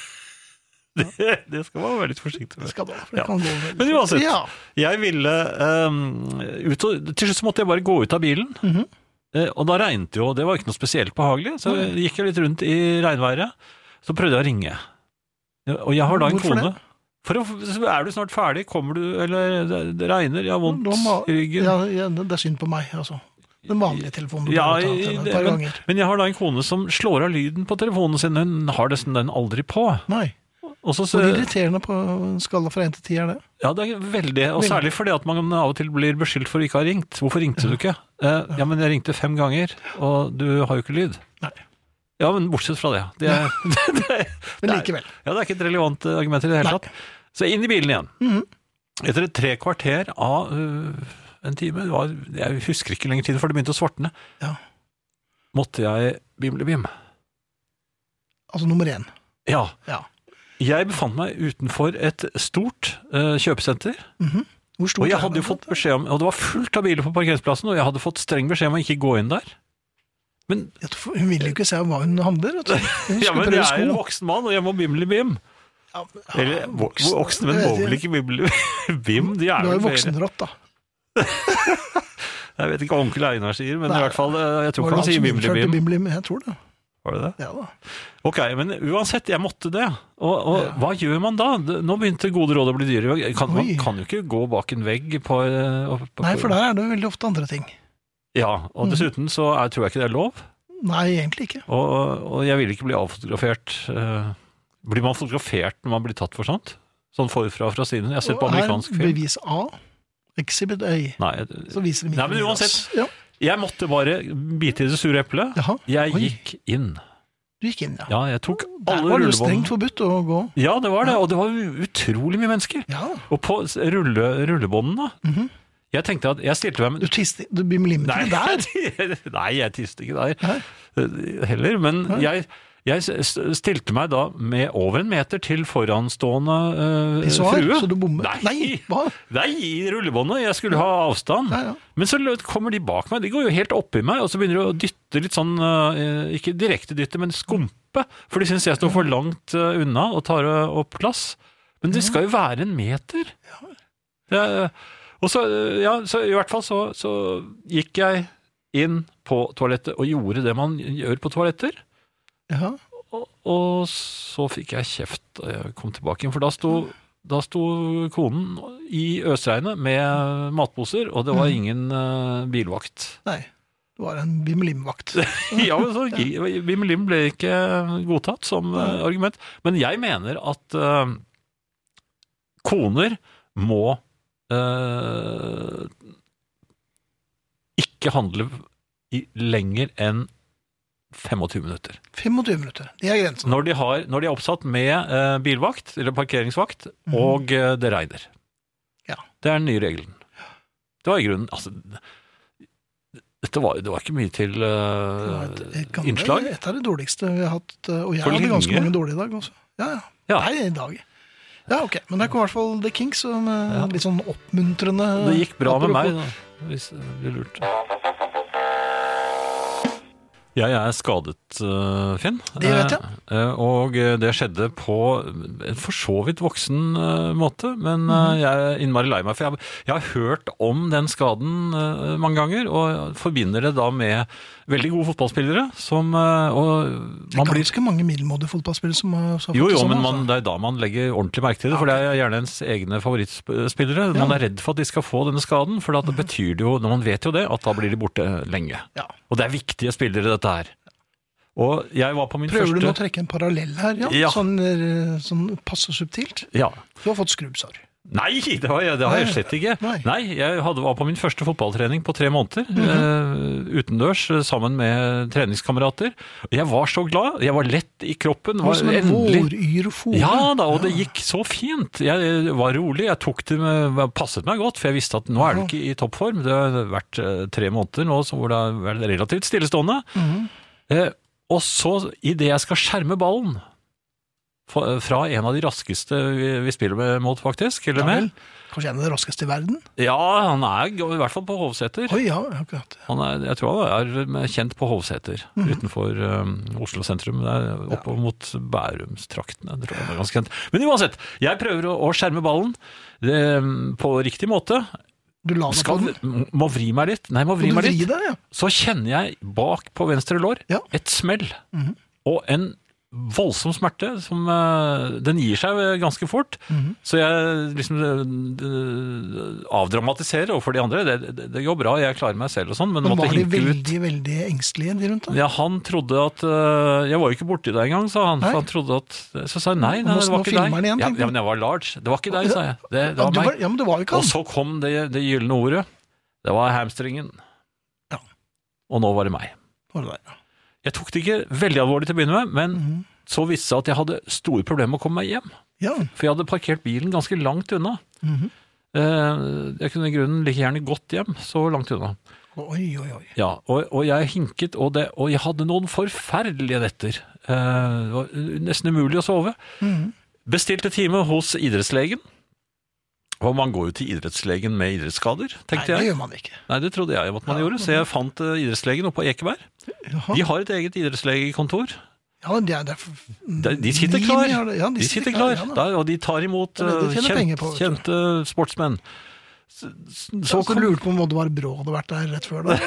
S2: det, det skal man være litt forsiktig
S1: ja.
S2: med.
S1: Skal da, for
S2: Ja.
S1: det kan gå veldig
S2: Men uansett.
S1: fort. Ja.
S2: Jeg ville ehm, ut og, Til slutt så måtte jeg bare gå ut av bilen.
S1: Mhm.
S2: Eh, og da regnet jo, og det var ikke noe spesielt behagelig. Så jeg gikk jeg litt rundt i regnværet. Så prøvde jeg å ringe. Ja, Og jeg har da en
S1: Hvorfor
S2: kone. For å, så er du snart ferdig? Kommer du Eller det, det regner, jeg har vondt
S1: Da må-
S2: i ryggen.
S1: Ja, ja, det er synd på meg, altså. Den vanlige telefonen. du
S2: Ja,
S1: kan ta til henne
S2: det-
S1: et par
S2: men,
S1: ganger.
S2: men jeg har da en kone som slår av lyden på telefonen sin. Hun har nesten den aldri på.
S1: Nei.
S2: Og så, så,
S1: Hvor irriterende på en skala fra 1 til 10 er det?
S2: Ja, det er veldig, og
S1: Veldig.
S2: særlig fordi at man av og til blir beskyldt for å ikke ha ringt. Hvorfor ringte du ikke? Eh, ja, men jeg ringte fem ganger, og du har jo ikke lyd.
S1: Nei.
S2: Ja, men bortsett fra det. Det er, det er,
S1: Men
S2: Nei.
S1: likevel.
S2: ja, det er ikke et relevant eh, argument i det hele
S1: Nei. Mhm.
S2: tatt. Så inn i bilen igjen. Etter et tre kvarter av øh, en time, det var, jeg husker ikke lenger tiden før det begynte å svartne,
S1: Ja.
S2: måtte jeg bimle-bim.
S1: Altså nummer én.
S2: Ja.
S1: Ja.
S2: Jeg befant meg utenfor et stort eh, kjøpesenter.
S1: Hvor
S2: Og
S1: stort
S2: jeg
S1: er
S2: hadde
S1: det?
S2: jo fått beskjed om, og det var fullt av biler på parkeringsplassen, og jeg hadde fått streng beskjed om å ikke gå inn der. Men,
S1: Ja, Hun vil jo ikke se hva hun handler. vet du. Hun
S2: ja,
S1: skal
S2: men
S1: prøve
S2: jeg er en
S1: sko.
S2: voksen mann, og jeg må bimli-bim.
S1: Ja, men- ja,
S2: Eller voksen, voksen men
S1: jeg
S2: må
S1: vet
S2: vel ikke bimli-bim? De
S1: Du
S2: er
S1: har jo
S2: vel flere.
S1: voksenrått, da.
S2: Jeg vet ikke hva onkel Einar sier, men
S1: Nei.
S2: i hvert fall, eh, jeg tror
S1: Var
S2: ikke
S1: det
S2: han sier
S1: som innførte
S2: bimli-bim.
S1: Bimlim? Jeg tror det.
S2: Var det det?
S1: Ja da.
S2: Ok, men uansett, jeg måtte det. Og, og hva gjør man da? Det- Nå begynte gode råd å bli dyre. Kan, man
S1: Oi.
S2: kan jo ikke gå bak en vegg på, eh, og- på
S1: Nei, for Mm. der er det jo veldig ofte andre ting.
S2: Ja, og dessuten så er, tror jeg ikke det er lov.
S1: Nei, egentlig ikke.
S2: Og, og jeg vil ikke bli avfotografert. Eh, Blir man fotografert når man blir tatt for sånt? Sånn forfra og fra siden? Jeg har sett på
S1: Og her,
S2: amerikansk film.
S1: Bevis A. Exhibit A.
S2: Nei, jeg-
S1: Så viser de
S2: Nei, men
S1: ikke oss.
S2: uansett.
S1: altså. Ja.
S2: jeg måtte bare bite i det sure eplet.
S1: Jaha.
S2: Jeg
S1: Oi.
S2: gikk inn.
S1: Du gikk inn, ja.
S2: Ja, jeg tok
S1: Der
S2: alle
S1: var det jo strengt
S2: rullebåndene.
S1: forbudt å gå.
S2: Ja, det var det, og det var u- utrolig mye mennesker.
S1: Ja, Mhm.
S2: Og på s- rulle, rullebåndene Jeg tenkte at Jeg stilte meg
S1: Du, tiste, du bimlimmet
S2: Nei,
S1: ikke der.
S2: nei, jeg tiste ikke der
S1: Hæ?
S2: eh, heller. Men jeg, jeg s- stilte meg da med over en meter til foranstående eh,
S1: Pissoar,
S2: frue.
S1: så du bommer.
S2: Nei.
S1: Nei, hva?
S2: Nei, i rullebåndet. Jeg skulle ha avstand.
S1: Ja, ja.
S2: Men så lø- kommer de bak meg. De går jo helt oppi meg, og så begynner de å dytte litt sånn eh, Ikke direkte dytte, men skumpe. For de syns jeg står for langt eh, unna og tar eh, opp plass. Men det skal jo være en meter. Det er- og så, eh, ja, så i hvert fall så, så gikk jeg inn på toalettet og gjorde det man gjør på toaletter.
S1: Ja.
S2: Og, og så fikk jeg kjeft da jeg kom tilbake igjen, for da sto, da sto konen i øsregnet med matposer, og det var ingen eh, bilvakt.
S1: Nei. Du var en bimlimvakt.
S2: ja, men så Wim Lim ble ikke godtatt som eh, argument. Men jeg mener at eh, koner må eh, ikke handle i lenger enn 25 minutter.
S1: 25 minutter. Det er grensen.
S2: Når de, har, når de er oppsatt med eh, bilvakt, eller parkeringsvakt, og eh, det regner.
S1: Mhm. Ja.
S2: Det er den nye regelen. Det var i grunnen altså, dette var, Det var ikke mye til
S1: Det var et-
S2: eh,
S1: et gammelt-
S2: innslag.
S1: Et av de dårligste vi har hatt. eh, Og jeg
S2: For
S1: hadde ganske
S2: lenge.
S1: mange dårlige i dag også. Ja, ja.
S2: Ja.
S1: Nei, i dag. Ja, ok. Men der kom i hvert fall The Kings som eh,
S2: Ja.
S1: litt sånn oppmuntrende
S2: Det gikk bra med
S1: apropos.
S2: meg, da, hvis det blir lurt. Jeg er skadet, eh, Finn.
S1: Det vet jeg.
S2: Eh, eh, Og eh, det skjedde på en for så vidt voksen eh, måte, men eh, jeg er innmari lei meg. For jeg, jeg har hørt om den skaden eh, mange ganger, og forbinder det da med veldig gode fotballspillere som eh, Og
S1: Det er
S2: man blir
S1: ganske mange middelmådige fotballspillere som har som har
S2: jo,
S1: fått det
S2: jo,
S1: sånn,
S2: men
S1: altså.
S2: man, det er da man legger ordentlig merke til det, for det er gjerne ens egne favorittspillere. Man er redd for at de skal få denne skaden, for da- det betyr det jo, når man vet jo det, at da blir de borte lenge.
S1: Ja.
S2: Og det er viktige spillere, dette her. Og jeg var på min
S1: Prøver du nå å
S2: første
S1: trekke en parallell her, ja?
S2: Ja.
S1: Sånn, eh, sånn passe subtilt?
S2: ja.
S1: Du har fått skrubbsår.
S2: Nei, det har jeg, det har jeg
S1: Nei.
S2: slett ikke.
S1: Nei. Mhm.
S2: Nei, jeg hadde, var på min første fotballtrening på tre måneder, eh, utendørs, eh, sammen med treningskamerater. Og Jeg var så glad, jeg var lett i kroppen.
S1: Det var
S2: Var
S1: som en
S2: endelig...
S1: våryr og fore.
S2: Ja da, og det gikk så fint. Jeg var rolig, jeg tok det med, passet meg godt, for jeg visste at nå er du ikke i toppform. Det har vært eh, tre måneder nå så hvor det har vært relativt stillestående.
S1: Mhm.
S2: Eh, og så, idet jeg skal skjerme ballen fra fra en av de raskeste vi, vi spiller med mot, faktisk, eller
S1: Ja vel.
S2: med
S1: Kanskje en av de raskeste i verden?
S2: Ja, han er g- i hvert fall på Hovseter.
S1: Oi, ja, akkurat.
S2: Han er, jeg tror han er eh, kjent på Hovseter,
S1: Mhm.
S2: utenfor eh, Oslo sentrum. Det er oppe mot Bærumstraktene. jeg tror han er ganske kjent. Men uansett, jeg prøver å, å skjerme ballen eh, på riktig måte.
S1: Du la deg på
S2: Skal,
S1: den.
S2: m- må vri meg litt. Nei, må
S1: Må
S2: vri
S1: du
S2: meg
S1: vri
S2: litt.
S1: deg, ja?
S2: Så kjenner jeg bak på venstre lår
S1: Ja. Mhm.
S2: et smell. Og en voldsom smerte. Som, eh, den gir seg eh, ganske fort.
S1: Mhm.
S2: Så jeg liksom eh, avdramatiserer overfor de andre. Det, det, det går bra, jeg klarer meg selv og sånn, men,
S1: Men
S2: måtte
S1: var de
S2: hinke ut.
S1: veldig, veldig engstelige, de rundt deg?
S2: Ja, han trodde at øh, Jeg var jo ikke borti deg engang, sa han.
S1: Nei.
S2: For han trodde at, så sa jeg nei,
S1: Og
S2: nei
S1: nå-
S2: det
S1: nå
S2: var ikke
S1: filmer
S2: deg.
S1: han igjen,
S2: ja,
S1: tenkte
S2: ja,
S1: han.
S2: men det var Lars. Det var ikke deg, sa jeg. Det, det
S1: Ja,
S2: var
S1: du
S2: meg.
S1: var, ja, men det var jo ikke
S2: Og
S1: han.
S2: så kom det, det gylne ordet. Det var hamstringen.
S1: Ja.
S2: Og nå var det meg.
S1: Var det der, ja.
S2: Jeg tok det ikke veldig alvorlig til å begynne med, men
S1: Mhm.
S2: så viste det seg at jeg hadde store problemer med å komme meg hjem.
S1: Ja.
S2: For jeg hadde parkert bilen ganske langt unna.
S1: Mhm.
S2: Eh, Jeg kunne i grunnen like gjerne gått hjem, så langt unna.
S1: Oi, oi, oi.
S2: Ja, og, og jeg hinket, og, det, og jeg hadde noen forferdelige netter. Eh, det var nesten umulig å sove.
S1: Mhm.
S2: Bestilte time hos idrettslegen. Og man går jo til idrettslegen med idrettsskader,
S1: Nei,
S2: tenkte
S1: det
S2: jeg.
S1: gjør man ikke.
S2: Nei, det trodde jeg jo at man
S1: Ja,
S2: gjorde, så jeg fant eh, idrettslegen oppe på Ekeberg.
S1: Jaha.
S2: De har et eget idrettslegekontor.
S1: Ja, de, er derfor,
S2: De, de sitter
S1: Limi
S2: klar.
S1: har det- Ja, de, sitter klar. Ja, da.
S2: Der, og de tar imot
S1: Det er det de
S2: eh,
S1: tjener penger
S2: kjent,
S1: på, vet
S2: kjente sportsmenn. Så,
S1: så
S2: så,
S1: altså,
S2: kom,
S1: lurte på om Oddvar Brå hadde vært der rett før da.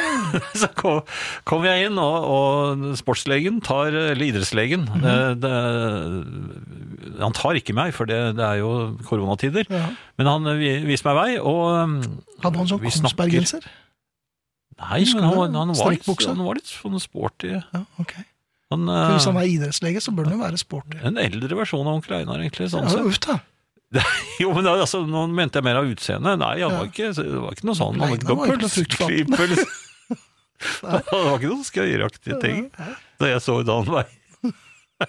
S2: så kom, kom jeg inn, og, og sportslegen tar Eller idrettslegen.
S1: Mhm.
S2: det, det, han tar ikke meg, for det, det er jo koronatider.
S1: Ja.
S2: Men han vi- viser meg vei, og um,
S1: Hadde han sånn
S2: Vi snakker.
S1: Kongsberg-genser?
S2: Nei,
S1: Husker
S2: men han,
S1: du
S2: var-
S1: det?
S2: han, var litt,
S1: Strekkbukse?
S2: han var litt sånn sporty.
S1: Ja, ok.
S2: Han,
S1: For Hvis han
S2: eh,
S1: er idrettslege, så bør han jo være sporty.
S2: en eldre versjon av onkel Einar, egentlig.
S1: Ja,
S2: sånn sett.
S1: uff da.
S2: Jo, men da, altså, nå mente jeg mer av utseendet. Nei, han var ikke, det var ikke noe sånn.
S1: Nei,
S2: Han
S1: det var ikke noe fruktfat.
S2: pølseklippel. Det var ikke noen skøyeraktige ting da jeg så dagen vei.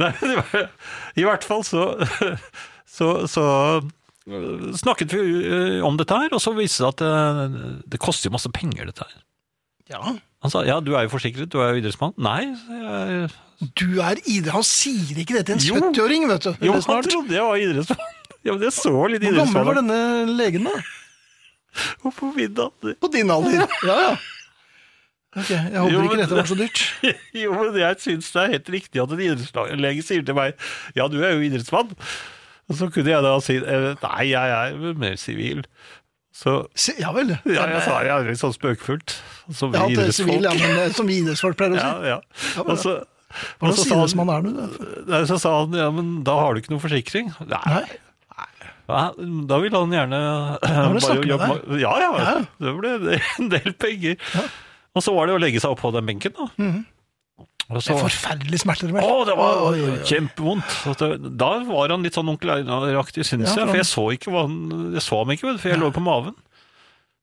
S2: Nei, men det var, i hvert fall så, så, så øh, snakket vi øh, om dette her, og så viste det seg at øh, det koster jo masse penger, dette her.
S1: Ja.
S2: Han sa ja, du er jo forsikret, du er jo idrettsmann. Nei, sa jeg,
S1: Du er idrett... Han sier ikke det til en
S2: Jo.
S1: 70-åring, vet du.
S2: jo,
S1: Eller
S2: han
S1: snart.
S2: trodde jeg var idrettsmann. Ja, men jeg så litt
S1: Hvor gammel var
S2: idrettsmann
S1: denne legen, da?
S2: på middag.
S1: På din alder. Ja, ja. Ok, Jeg håper
S2: Jo,
S1: ikke
S2: men-
S1: dette var så dyrt.
S2: Jo, men jeg syns det er helt riktig at en idrettslege sier til meg Ja, du er jo idrettsmann. Og så kunne jeg da si eh, Nei, jeg er mer sivil. Så
S1: Se- Ja vel.
S2: ja, jeg sa jeg er litt sånn spøkefullt. Som
S1: Jeg har hatt det sivil, ja,
S2: idrettsfolk.
S1: men det er som vi idrettsfolk pleier å
S2: Ja,
S1: si.
S2: ja.
S1: men
S2: Og så,
S1: Hva
S2: og så,
S1: slags
S2: sa han,
S1: idrettsmann er du? da?
S2: nei, så sa han ja, men da har du ikke noe forsikring. Nei.
S1: Nei.
S2: Ja, Da ville han gjerne
S1: må du
S2: bare
S1: snakke med
S2: jobbe
S1: deg.
S2: med- Ja, ja. Det ble en del penger. Og så var det å legge seg oppå den benken, da.
S1: Mhm.
S2: Og
S1: Det
S2: så,
S1: er forferdelige smerter, vel?
S2: Å, det var
S1: Oi, oi, oi.
S2: kjempevondt. At det- Da var han litt sånn onkel Einar-aktig, syns
S1: Ja,
S2: jeg. For
S1: for
S2: jeg så, ikke hva han, jeg så ham ikke, vet du, for jeg lå på maven.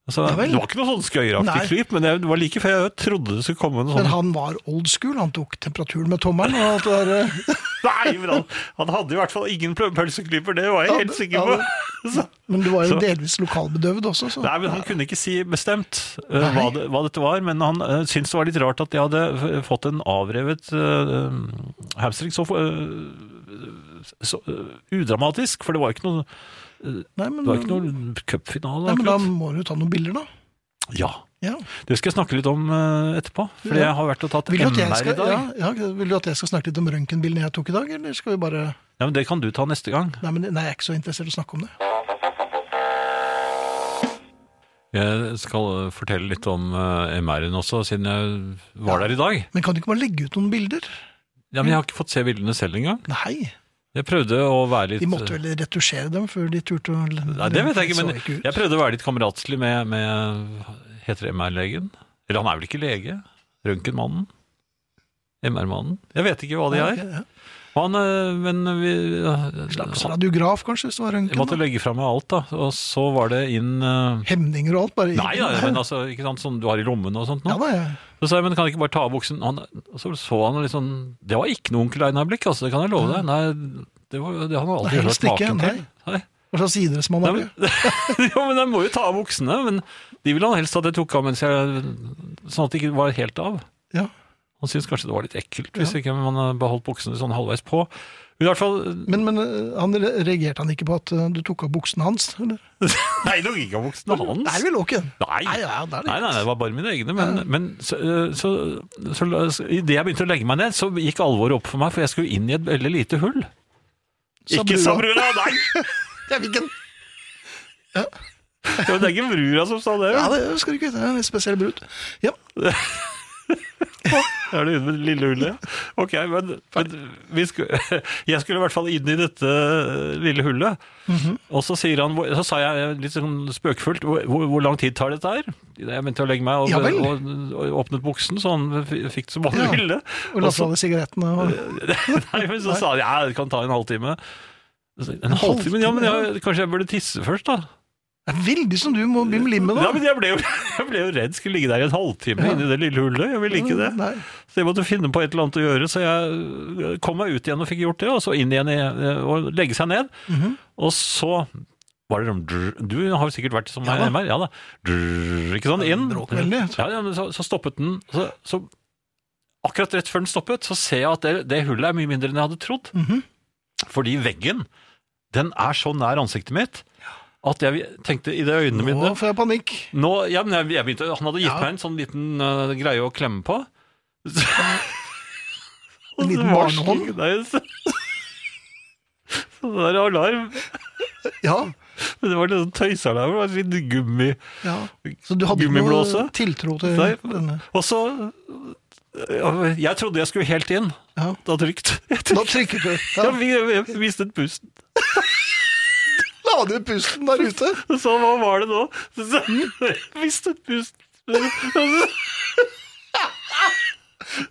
S2: Altså,
S1: Ja vel.
S2: det var ikke noe sånn
S1: Nei.
S2: skøyeraktig klyp, men jeg, det var like før jeg trodde det skulle komme noe
S1: Men
S2: sånn.
S1: han var old school, han tok temperaturen med tommelen og alt det der. eh.
S2: Nei, men han, han hadde i hvert fall ingen plø- pølseklyper, det var jeg
S1: Ja,
S2: helt
S1: det-
S2: sikker
S1: ja,
S2: på.
S1: det-
S2: Så,
S1: Men du var jo
S2: Så-
S1: delvis lokalbedøvd også, så
S2: nei, men Han kunne ikke si bestemt eh, hva, det, hva dette var, men han eh, syntes det var litt rart at jeg hadde f- fått en avrevet eh, hamstring så, eh, så eh, udramatisk, for det var ikke noe
S1: Nei, men,
S2: Det var ikke noen cupfinale,
S1: Mm. nei, men da
S2: akkurat.
S1: må du ta noen bilder, da.
S2: Ja.
S1: Ja.
S2: Det skal jeg snakke litt om eh, etterpå. Fordi
S1: Ja.
S2: jeg har vært og tatt
S1: Vil, du
S2: MR
S1: at jeg
S2: i
S1: skal,
S2: dag.
S1: ja,
S2: Ja.
S1: ja, vil du at jeg skal snakke litt om røntgenbildene jeg tok i dag, eller skal vi bare
S2: men Det kan du ta neste gang.
S1: Nei, men, nei jeg er ikke så interessert i å snakke om det.
S2: Jeg skal eh, fortelle litt om eh, MR-en også, siden jeg var der i dag.
S1: Men kan du ikke bare legge ut noen bilder?
S2: Ja, Men jeg har ikke fått se bildene selv engang.
S1: Nei.
S2: Jeg prøvde å være litt eh,
S1: De måtte vel retusjere dem før de turte å
S2: Nei, det vet jeg ikke, men
S1: så ut.
S2: jeg prøvde å være litt kameratslig med, med Heter det MR-legen? Eller han er vel ikke lege? Røntgenmannen? MR-mannen. Jeg vet ikke hva de er.
S1: Ja.
S2: Han, eh, men vi eh,
S1: Slags
S2: han,
S1: radiograf, kanskje, hvis det var
S2: Jeg måtte
S1: røntgen. da.
S2: legge fra meg alt, da. Og så var det inn eh,
S1: Hemninger og alt, bare
S2: Nei da, men altså, ikke sant, som du har i lommene og sånt nå.
S1: Ja, da, ja.
S2: Så sa jeg, men kan jeg ikke bare ta av buksen? Han, og så så han litt sånn Det var ikke noe onkel Einar-blikk, altså, det kan jeg love deg. Nei, det, var, det han har aldri
S1: Helst
S2: hørt
S1: ikke,
S2: maken til.
S1: nei.
S2: Nei.
S1: Hva slags idrettsmann
S2: Nei,
S1: er
S2: men,
S1: du?
S2: jo, men jeg må jo ta av buksene. Men de ville han helst at jeg tok av mens jeg Sånn at det ikke var helt av.
S1: Ja.
S2: Han syntes kanskje det var litt ekkelt hvis ikke man beholdt buksene sånn halvveis på. Men i hvert fall
S1: Men, men eh, han re- reagerte han ikke på at eh, du tok av buksene hans? Eller?
S2: Nei, det gikk av buksene hans.
S1: Nei, vi lå ikke.
S2: Nei.
S1: Nei, ja, det er det.
S2: Nei, nei, det var bare mine egne. Men, men så, eh, så, så, så idet jeg begynte å legge meg ned, så gikk alvoret opp for meg, for jeg skulle inn i et veldig lite hull.
S1: Sa
S2: Ikke
S1: brura.
S2: sa brura, nei!
S1: Jeg fikk en.
S2: Det var- det er ikke brura som sa det.
S1: Ja, det skal du ikke vite. Det er en litt spesiell brud. Ja,
S2: Da er det ute med det lille hullet. Ok, men, men vi skulle, jeg skulle i hvert fall inn i dette eh, lille hullet.
S1: Mhm.
S2: Og så, sier han, hvor- så sa jeg litt sånn spøkefullt, hvor, hvor hvor lang tid tar dette her? Jeg begynte å legge meg og,
S1: Ja vel.
S2: og, og åpnet buksen, så han f- fikk det som han
S1: Ja.
S2: ville.
S1: og la
S2: Og
S1: fra
S2: så,
S1: deg sigarettene. Og...
S2: nei, men så sa han, ja, det kan ta en halvtime. Så, En
S1: halvtime,
S2: halvtime? Ja, men
S1: ja.
S2: jeg, kanskje jeg burde tisse først da?
S1: Det er veldig som du må bli med lim med
S2: Ja,
S1: da.
S2: men jeg ble, jo, jeg ble jo redd skulle ligge der i en halvtime
S1: Ja.
S2: inne i det lille hullet. Jeg ville ikke det.
S1: Mm, Nei.
S2: Så jeg måtte finne på et eller annet å gjøre, så jeg kom meg ut igjen og fikk gjort det, og så inn igjen i, og legge seg ned.
S1: Mhm.
S2: Og så var det sånn drr, Du har jo sikkert vært som
S1: Ja da.
S2: meg, ja da. Drr, ikke sånn, inn.
S1: bråk veldig.
S2: Ja, ja, men så, så stoppet den. Så, så akkurat rett før den stoppet, så ser jeg at det, det hullet er mye mindre enn jeg hadde trodd.
S1: Mhm.
S2: Fordi veggen, den er så nær ansiktet mitt at jeg tenkte i det øynene mine
S1: Nå får jeg panikk.
S2: nå, ja, men jeg, jeg begynte, han hadde gitt
S1: Ja.
S2: meg en sånn liten øh, greie å klemme på.
S1: En liten barnehånd?
S2: Nei, så, så det der alarm.
S1: Ja,
S2: Men Det var litt sånn tøysealarm, det var litt gummi.
S1: ja. Så du hadde ikke noe
S2: Gummiblåse?
S1: tiltro til
S2: Nei.
S1: denne?
S2: Og så, øh, jeg trodde jeg skulle helt inn.
S1: Ja.
S2: Da trykt. Jeg,
S1: Da
S2: trykt.
S1: trykket du. Ja,
S2: jeg, jeg, jeg mistet pusten.
S1: la du pusten der ute?
S2: Så hva var det nå? Så, mistet pusten. Og så-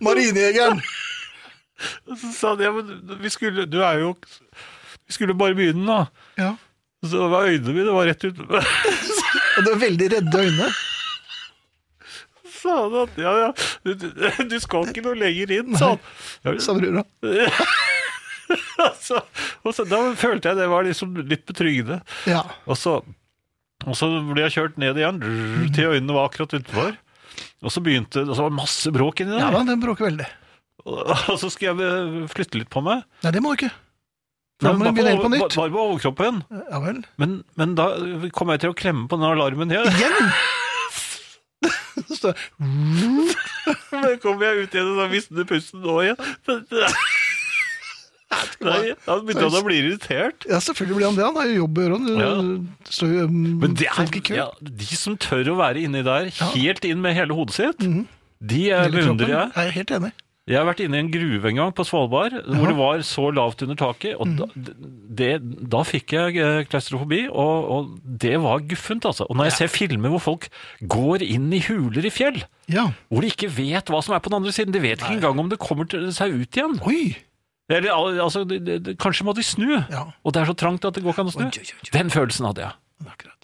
S1: Marinejegeren.
S2: så sa han, ja, men vi skulle, du er jo, vi skulle bare begynne da.
S1: Ja.
S2: Så var øynene mine var rett ut.
S1: Og det var veldig redde øyne.
S2: sa han at ja, ja, du, du- du skal ikke noe lenger inn, sa han. Ja,
S1: Sa brura.
S2: altså, og så, da følte jeg det var liksom litt betryggende.
S1: Ja.
S2: Og så, og så ble jeg kjørt ned igjen, drrr, til øynene var akkurat utenfor. Og så begynte og så var det masse bråk inni
S1: ja
S2: der.
S1: da, den bråker veldig.
S2: Og, og så skulle jeg eh, flytte litt på meg.
S1: Nei, det må du ikke. For Da må du begynne helt på
S2: bare,
S1: nytt.
S2: på, bare på overkroppen.
S1: Ja vel.
S2: Men, men da kom jeg til å klemme på den alarmen igjen.
S1: Igjen! Så står det,
S2: Men kom jeg ut igjen og da visste pusten nå igjen. Nei, han begynte han å bli irritert.
S1: Ja, selvfølgelig blir han det. Han har jo jobb å gjøre. Han
S2: Ja.
S1: står jo um,
S2: Men det er,
S1: folk i kø.
S2: ja, de som tør å være inni der, helt inn med hele hodet sitt, de eh,
S1: Hele kroppen.
S2: beundrer jeg.
S1: Jeg er helt enig.
S2: Jeg har vært inne i en gruve en gang på Svalbard, hvor det var så lavt under taket, og da, det, da fikk jeg eh, klaustrofobi, og, og det var guffent, altså. Og når jeg ser filmer hvor folk går inn i huler i fjell,
S1: Ja.
S2: hvor de ikke vet hva som er på den andre siden, de vet ikke engang om det kommer til seg ut igjen.
S1: Oi!
S2: Eller, al- altså, det, det, det, kanskje må de snu,
S1: Ja.
S2: og det er så trangt at det går ikke an å snu.
S1: Oi, oi, oi, oi.
S2: Den følelsen hadde jeg.
S1: Akkurat.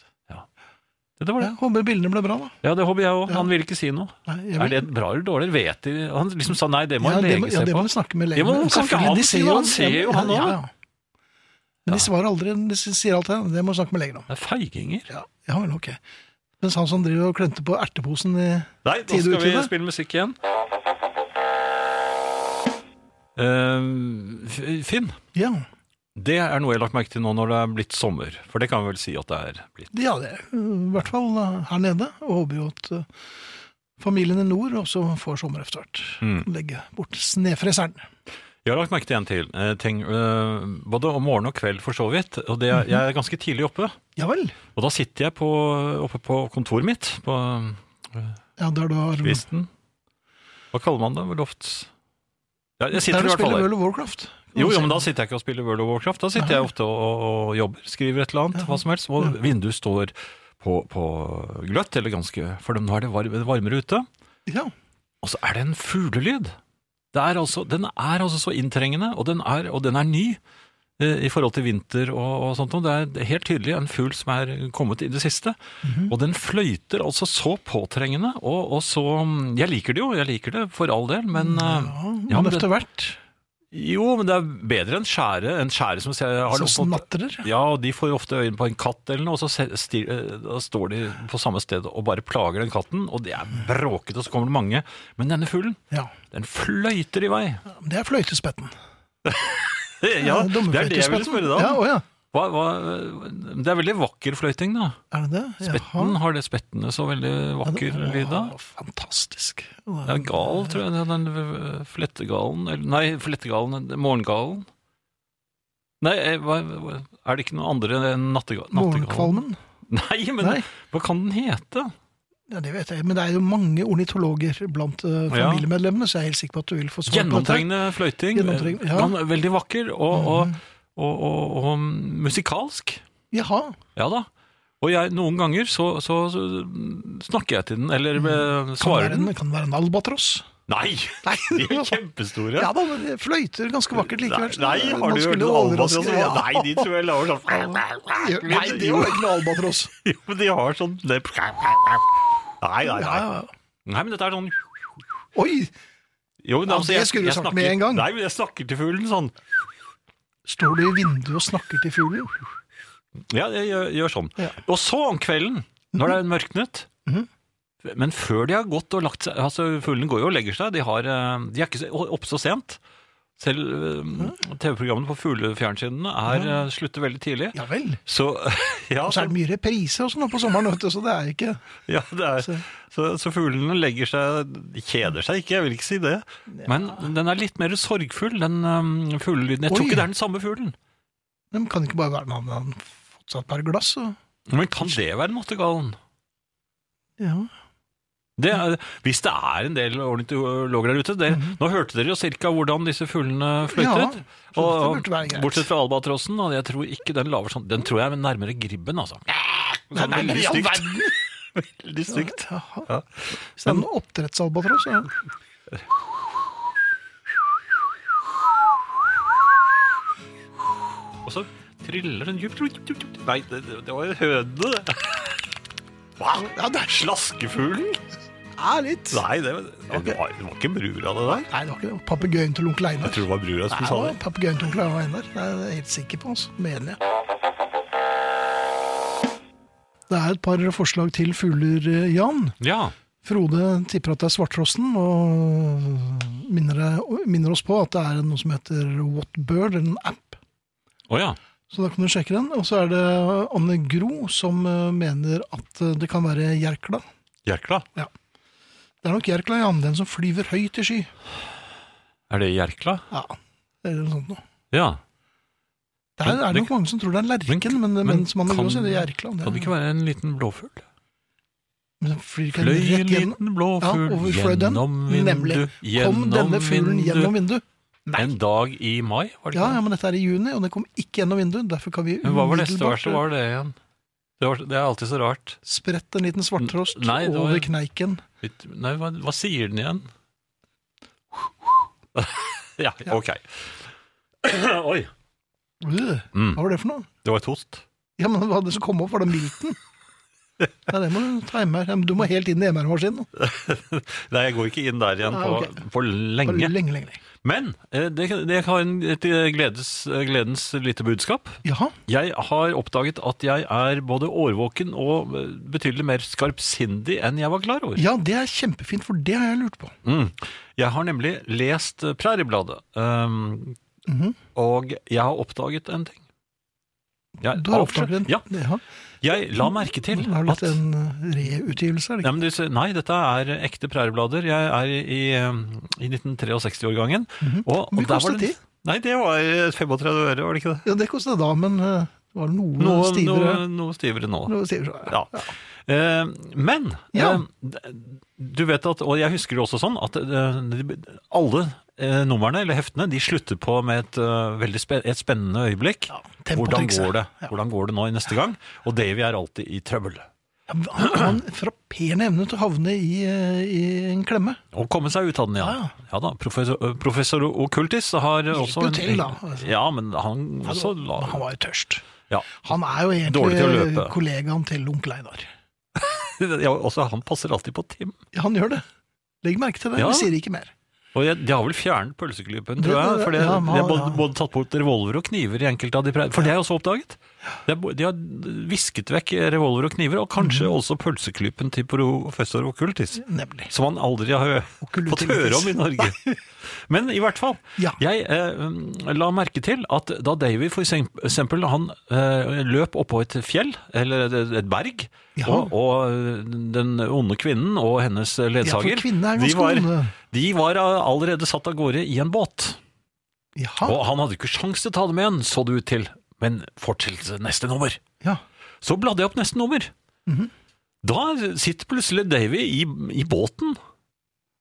S2: Det, det var det.
S1: Jeg håper bildene ble bra, da.
S2: Ja, det håper jeg òg.
S1: Ja.
S2: Han vil ikke si noe.
S1: Nei, jeg
S2: Er
S1: vil-
S2: det bra eller dårlig? Vet de Han liksom sa nei, det må
S1: ja,
S2: en
S1: det må,
S2: lege
S1: ja,
S2: se
S1: det må
S2: på.
S1: vi snakke med
S2: Ja,
S1: legen
S2: men hvorfor kan
S1: Selvfølgelig, de
S2: ikke han si
S1: jo
S2: det? Han ser jo, han
S1: ja,
S2: også.
S1: ja, ja. Men de svarer aldri, de sier alt det. Det må vi snakke med legen om.
S2: Det er feiginger.
S1: Ja, ja vel, ok. Mens han som driver og klønte på erteposen i
S2: Nei, nå
S1: Tid
S2: skal
S1: ut i
S2: vi
S1: det.
S2: spille musikk igjen. Ehm, F- Finn,
S1: Ja,
S2: det er noe jeg har lagt merke til nå når det er blitt sommer. For det kan vi vel si at det er blitt.
S1: det- ja det er i hvert fall eh, her nede. Og håper jo at eh, familien i nord også får sommer etter hvert.
S2: Mm.
S1: Legge bort snefreseren.
S2: Jeg har lagt merke til en til. eh, ting, eh, både om morgen og kveld, for så vidt. Og det, er- jeg er ganske tidlig oppe.
S1: Ja vel.
S2: Og da sitter jeg på, oppe på kontoret mitt, på
S1: Ja, der du har
S2: kvisten. Hva kaller man det? Lofts? Ja, jeg sitter
S1: Der
S2: i
S1: du
S2: hvert fall
S1: spiller
S2: der.
S1: World of Warcraft. kan
S2: Jo,
S1: du
S2: jo,
S1: si.
S2: men da sitter jeg ikke og spiller World of Warcraft. Da sitter
S1: Nei.
S2: jeg ofte og, og jobber, skriver et eller annet, hva som helst. Og vinduet står på, på gløtt, eller ganske For nå er det var- varmere ute.
S1: Ja,
S2: Og så er det en fuglelyd. Det er altså, den er altså så inntrengende, og den er, og den er ny eh, i forhold til vinter og, og sånt. noe. Det er helt tydelig en fugl som er kommet i det siste. Og den fløyter altså så påtrengende, og, og så mm, Jeg liker det jo, jeg liker det for all del, men eh, ja,
S1: men
S2: men
S1: etter
S2: det,
S1: hvert
S2: Jo, men det er bedre enn skjære. En skjære som ser, har
S1: så
S2: noe-
S1: snatrer det.
S2: ja, og de får jo ofte øynene på en katt eller noe, og så ser- stir- eh, da står de på samme sted og bare plager den katten, og det er bråkete, og så kommer det mange. Men denne fuglen,
S1: Ja,
S2: den fløyter i vei.
S1: men det er fløytespetten.
S2: Ja, det er det jeg ville
S1: Dommerfløytespetten.
S2: spørre deg
S1: Ja,
S2: om.
S1: å ja.
S2: Hva, hva, det er veldig vakker fløyting, da.
S1: Er det det? Jaha.
S2: Spetten, har det spettene så veldig
S1: Ja, det-
S2: vakker lyd da?
S1: Å, Fantastisk.
S2: Det er gal, tror jeg, den- den eh, flettegalen, eller nei, flettegalen, morgengalen. Nei, eh, hva, hva- er det ikke noe andre enn nattegalen?
S1: Morgenkvalmen.
S2: Nei, men
S1: Nei.
S2: hva kan den hete?
S1: Ja, det vet jeg, men det er jo mange ornitologer blant eh,
S2: Ja.
S1: familiemedlemmene, så jeg er helt sikker på at du vil få svar på dette.
S2: Gjennomtrengende fløyting.
S1: Gjennomtrengende, ja. Mm.
S2: Han er veldig vakker og, og, og, og, og musikalsk.
S1: Jaha.
S2: Ja da. Og jeg, noen ganger så, så, så snakker jeg til den, eller eh,
S1: Mm. Kan
S2: svarer
S1: være en,
S2: den.
S1: kan være en albatross.
S2: Nei! De er kjempestore.
S1: Ja da, men det fløyter ganske vakkert likevel. så
S2: Nei,
S1: det-
S2: har
S1: man
S2: du
S1: skulle
S2: hørt en
S1: jo
S2: albatross?
S1: overraske-
S2: som-
S1: Ja.
S2: Nei, de tror jeg lager sånn
S1: Jo, Nei, det var ikke noe albatross.
S2: Jo, men de har sånn det- Nei, nei,
S1: Ja,
S2: nei.
S1: ja.
S2: Nei, men dette er sånn
S1: Oi,
S2: jo, men
S1: Ja,
S2: altså,
S1: det
S2: jeg-
S1: skulle du
S2: jeg
S1: sagt
S2: snakker-
S1: med en gang.
S2: Nei, men jeg snakker til fuglen sånn.
S1: står du i vinduet og snakker til fuglen?
S2: Ja, jeg gjør, gjør sånn.
S1: Ja.
S2: Og så om kvelden, når det er mørknet
S1: Mhm.
S2: Men før de har gått og lagt seg altså Fuglene går jo og legger seg. De, har, eh, de er ikke så- oppe så sent. Selv eh,
S1: Mhm.
S2: TV-programmene på fuglefjernsynene er, eh, slutter veldig tidlig.
S1: Ja vel.
S2: Så, ja,
S1: Mhm. Og så er
S2: så,
S1: det mye reprise også nå på sommeren, vet du, så det er ikke
S2: ja, det er, så, så fuglene legger seg De kjeder seg ikke, jeg vil ikke si det. Men den er litt mer sorgfull, den um, fuglelyden. Jeg tror
S1: Oi.
S2: ikke det er den samme fuglen.
S1: De kan ikke bare være med han han fått seg et par glass og
S2: Men kan det være nattergallen?
S1: Ja.
S2: Det er, hvis det er en del ornitologer der ute det,
S1: Mhm.
S2: Nå hørte dere jo cirka hvordan disse fuglene fløytet.
S1: så det burde være greit.
S2: bortsett fra albatrossen, og jeg tror ikke den laver sånn. Den tror jeg er nærmere gribben, altså. Sånn
S1: nei,
S2: veldig
S1: i all
S2: stygt. Veldig stygt.
S1: Jaha. Hvis det er en oppdrettsalbatross, ja.
S2: Og så triller den djupt Nei, det, det- det var jo høne, det. Hva?
S1: ja det er sl-
S2: Slaskefuglen?
S1: er litt Nei,
S2: Nei, det, var- det, var, det var ikke brura, det der.
S1: det var ikke det. Papegøyen til onkel Einar.
S2: Jeg tror det var brura som
S1: Nei,
S2: sa
S1: det var
S2: det.
S1: papegøyen til onkel Einar. Det er jeg helt sikker på, altså. Mener jeg. Det er et par forslag til fugler, eh, Jan.
S2: Ja.
S1: Frode tipper at det er svarttrosten, og minner, minner oss på at det er noe som heter Whatbird, en app.
S2: Å ja.
S1: Så da kan du sjekke den. Og så er det Anne Gro som eh, mener at eh, det kan være jerkla.
S2: Jerkla.
S1: Det er nok jerkla, Jan. Den som flyver høyt i sky.
S2: Er det Jerkla?
S1: Ja, eller noe sånt noe.
S2: Ja.
S1: Der
S2: Men-
S1: er det nok mange som tror det er lerken, men, men,
S2: men
S1: som Anne
S2: kan-
S1: Gro sier, det er jerkla.
S2: Kan det ikke være en liten blåfugl?
S1: Men den flyr ikke
S2: Fløy en
S1: rett gjennom.
S2: liten blåfugl
S1: Ja, over fløy den.
S2: gjennom
S1: Nemlig.
S2: vindu.
S1: Kom denne fuglen gjennom vinduet?
S2: En dag i mai, var det
S1: Ja,
S2: ikke?
S1: ja,
S2: det?
S1: men dette er i juni, og den kom ikke gjennom vinduet. Derfor kan vi
S2: Men hva var neste
S1: umiddelbart-
S2: vers? så Var det igjen? Det, var, det er alltid så rart.
S1: Spredt en liten svarttrost
S2: Nei, det var-
S1: over kneiken.
S2: Litt- Nei, hva, hva sier den igjen? ja, ok. Oi.
S1: Øh,
S2: Mm.
S1: Hva var det for noe?
S2: Det var et host.
S1: Ja, men hva var det som kom opp? Var det milten? Nei, det må du ta hjemme her. Ja, men Du må helt inn i MR-maskinen. nå.
S2: Nei, jeg går ikke inn der igjen
S1: Nei,
S2: på,
S1: Ah, ok.
S2: for
S1: Bare
S2: lenge.
S1: Lenge, lenge, lenge.
S2: Men eh, det, det har en, et eh, gledes, gledens lite budskap.
S1: Jaha.
S2: Jeg har oppdaget at jeg er både årvåken og eh, betydelig mer skarpsindig enn jeg var klar over.
S1: Ja, det er kjempefint, for det har jeg lurt på.
S2: Mm. Jeg har nemlig lest eh, Præriebladet, um,
S1: Mhm.
S2: og jeg har oppdaget en ting. Jeg,
S1: Du har oppdaget den?
S2: Ja,
S1: Jaha.
S2: jeg la merke til
S1: Har du
S2: at
S1: hatt en eh, reutgivelse? Er det
S2: Nei,
S1: ikke?
S2: men du ser- nei, dette er ekte Prærieblader. Jeg er i, um, i 1963-årgangen. og,
S1: Mhm. Hvor mye
S2: der var
S1: kostet
S2: det-
S1: de?
S2: Nei, det var 35 øre, var det ikke det?
S1: Ja, det kostet da, men eh, det var noe,
S2: Noe
S1: stivere.
S2: Noe, noe stivere nå.
S1: Noe stivere.
S2: Ja. Eh, men
S1: Ja.
S2: eh, d- du vet at, og jeg husker det også sånn, at eh, de- alle eh, numrene eller heftene de slutter på med et eh, veldig spe et spennende øyeblikk.
S1: tempotrikset.
S2: Hvordan går det?
S1: Ja.
S2: Hvordan går det nå i neste gang? Og Davy er alltid i trøbbel.
S1: Han han har en frapperende evne til å havne i, eh, i en klemme.
S2: Å komme seg ut av den, ja.
S1: Ja,
S2: ja. da, professor, øh, professor Okultis har også
S1: jo til, da, altså.
S2: Ja, men han også la,
S1: Han var jo tørst.
S2: ja.
S1: Han er jo
S2: Dårlig til å
S1: egentlig
S2: løpe.
S1: kollegaen til onkel Einar.
S2: ja, også han passer alltid på Tim.
S1: Ja, Han gjør det. Legg merke til det.
S2: Ja.
S1: Vi sier ikke mer.
S2: Og jeg, De har vel fjernet pølseklypen,
S1: Det-
S2: tror jeg.
S1: det-
S2: For det,
S1: ja, man-
S2: de har både,
S1: ja.
S2: både tatt bort revolver og kniver i enkelte av de pre- For det er jo også oppdaget. De, har bo- de har visket vekk revolver og kniver,
S1: Mhm.
S2: og kanskje også pølseklypen til professor Okultis.
S1: Nemlig.
S2: Som han aldri har hø- fått
S1: Okkultivitis.
S2: høre om i Norge. Men i hvert fall,
S1: Ja.
S2: jeg eh, la merke til at da Davy for eksempel han eh, løp oppå et fjell, eller et, et berg,
S1: Ja.
S2: og, og den onde kvinnen og hennes ledsager,
S1: kvinnen er
S2: de,
S1: ganske
S2: var,
S1: onde.
S2: de var eh, allerede satt av gårde i en båt. Og
S1: Jaha.
S2: han hadde ikke sjans til å ta dem igjen, så det ut til. Men fortsettelse neste nummer.
S1: Ja.
S2: Så bladde jeg opp neste nummer. Da sitter plutselig Davy i, i båten.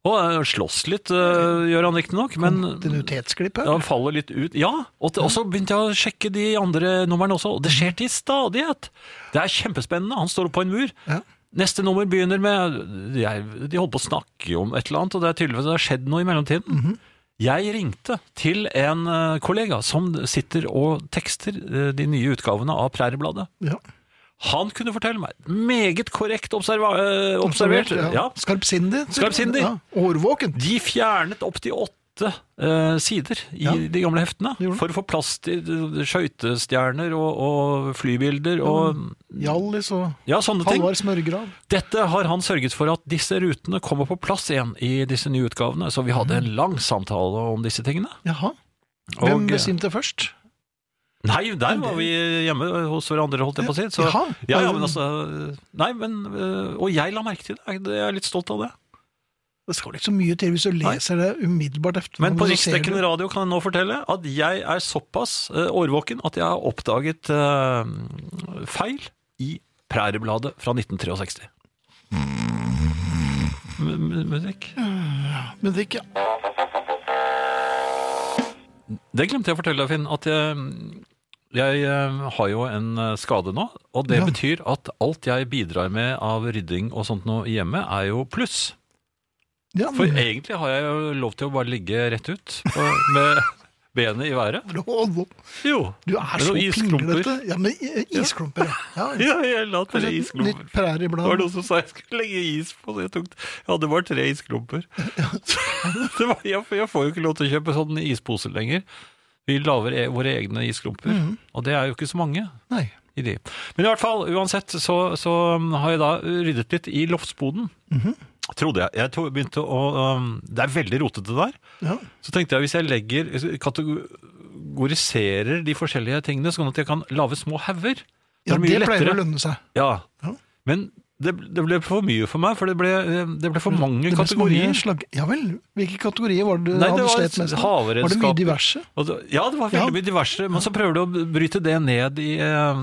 S2: Og eh, slåss litt, eh, gjør han riktignok, men
S1: Kontinuitetsklipp her.
S2: han faller litt ut. Ja, og, t- og så begynte jeg å sjekke de andre numrene også, og det skjer til stadighet. Det er kjempespennende. Han står oppå en mur.
S1: Ja.
S2: Neste nummer begynner med jeg, De holdt på å snakke om et eller annet, og det er tydeligvis det har skjedd noe i mellomtiden.
S1: Mhm.
S2: Jeg ringte til en eh, kollega som sitter og tekster eh, de nye utgavene av Præriebladet.
S1: Ja.
S2: Han kunne fortelle meg. Meget korrekt observa eh, observert.
S1: Observert.
S2: Ja.
S1: Skarpsindig.
S2: Skarpsindig.
S1: Ja. Årvåken.
S2: De fjernet opptil åtte eh, sider i
S1: Ja.
S2: de gamle heftene
S1: gjorde de.
S2: for å få plass til eh, skøytestjerner og, og flybilder og
S1: Hjallis og
S2: ja, sånne ting.
S1: Halvard Smørgrav.
S2: Dette har han sørget for at disse rutene kommer på plass igjen i disse nye utgavene, så vi hadde en lang samtale om disse tingene.
S1: Jaha. Mm.
S2: Og- eh,
S1: Hvem besvimte først?
S2: Nei, der var vi hjemme hos hverandre, holdt jeg på å si. Så,
S1: Jaha.
S2: ja, ja, men altså, nei, men, eh, og jeg la merke til det, jeg er litt stolt av det.
S1: Det skal ikke så mye til hvis du leser det umiddelbart efter
S2: Men på
S1: hverandre, så ser
S2: riksdekkende radio kan jeg nå fortelle at jeg er såpass eh, årvåken at jeg har oppdaget eh, feil i Præriebladet fra 1963. M m- musikk.
S1: Mm. du- Men det er ikke
S2: Det glemte jeg å fortelle deg, Finn, at jeg, jeg eh, har jo en eh, skade nå. Og det
S1: Ja.
S2: betyr at alt jeg bidrar med av rydding og sånt nå i hjemmet, er jo pluss.
S1: ja,
S2: For egentlig har jeg jo lov til å bare ligge rett ut og- med benet i været.
S1: Nå-
S2: Jo.
S1: Du er
S2: Det er
S1: så
S2: noen isklumper.
S1: pinglete. Ja, men i- eh, isklumper, ja. ja.
S2: Ja, jeg la tre
S1: Kanskje et
S2: isklumper.
S1: nytt prærieblad.
S2: Det var noen som sa jeg skulle legge is på det. Jeg, tok, jeg hadde bare tre isklumper. Det var, jeg, jeg får jo ikke lov til å kjøpe sånne isposer lenger. Vi lager e våre egne isklumper,
S1: Mhm.
S2: og det er jo ikke så mange
S1: Nei.
S2: i de. Men i hvert fall, uansett, så, så um, har jeg da ryddet litt i loftsboden.
S1: Mhm.
S2: Trodde jeg. Jeg to- begynte å um, Det er veldig rotete der.
S1: Ja.
S2: Så tenkte jeg hvis jeg legger Kategoriserer de forskjellige tingene, sånn at jeg kan lage små hauger.
S1: ja,
S2: er mye
S1: det pleier
S2: lettere.
S1: å lønne seg.
S2: Ja.
S1: Ja.
S2: Men det, det ble for mye for meg, for det ble, eh, det ble for mange
S1: Det ble så mange
S2: kategorier.
S1: Slag... Ja vel. Hvilke kategorier var det du
S2: Nei, det
S1: hadde
S2: var
S1: slet mest med? Var det
S2: havredskaper.
S1: mye diverse?
S2: Og det, ja, det var veldig
S1: Ja.
S2: mye diverse, men så prøver du å bryte det ned i eh,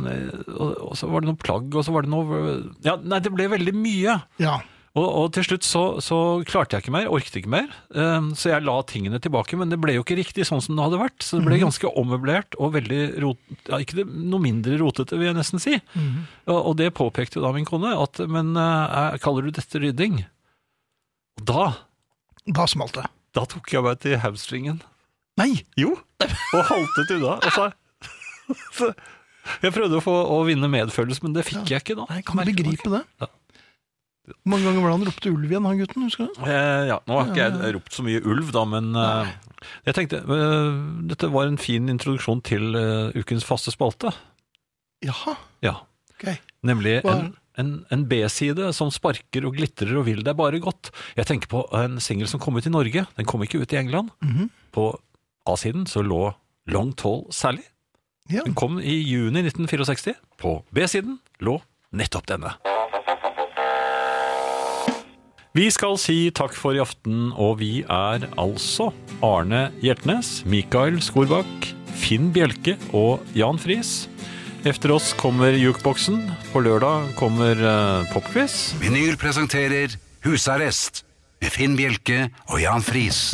S2: og, og så var det noe plagg, og så var det noe Ja, nei, det ble veldig mye.
S1: Ja.
S2: Og, og til slutt så, så klarte jeg ikke mer, orket ikke mer, eh, så jeg la tingene tilbake, men det ble jo ikke riktig sånn som det hadde vært, så det
S1: Mhm.
S2: ble ganske ommøblert og veldig rot, ja, ikke det, noe mindre rotete, vil jeg nesten si.
S1: Mhm.
S2: og, og det påpekte jo da min kone, at men eh, kaller du dette rydding? Og da,
S1: Da smalt det.
S2: da tok jeg meg til hamstringen.
S1: Nei!
S2: Jo, og haltet unna. Og så, så jeg prøvde å, få, å vinne medfølelse, men det fikk jeg ikke da.
S1: Nei, kan du
S2: Merkelig nok.
S1: begripe det?
S2: Ja.
S1: Hvor mange ganger var det han ropte ulv igjen, han gutten? husker du?
S2: Eh, ja, nå har ikke jeg ropt så mye ulv, da, men eh, jeg tenkte eh, Dette var en fin introduksjon til eh, ukens faste spalte.
S1: Jaha,
S2: Ja,
S1: ok.
S2: Nemlig
S1: Hva er
S2: en, en, en B-side som sparker og glitrer og vil deg bare godt. Jeg tenker på en singel som kom ut i Norge. Den kom ikke ut i England.
S1: Mhm.
S2: På A-siden så lå Long Tall Sally.
S1: Ja.
S2: Den kom i juni 1964. På B-siden lå nettopp denne. Vi skal si takk for i aften, og vi er altså Arne Hjertnes, Mikael Skorbakk, Finn Bjelke og Jan Friis. Efter oss kommer jukeboksen. På lørdag kommer eh, popquiz.
S3: Vinyl presenterer Husarrest med Finn Bjelke og Jan Friis.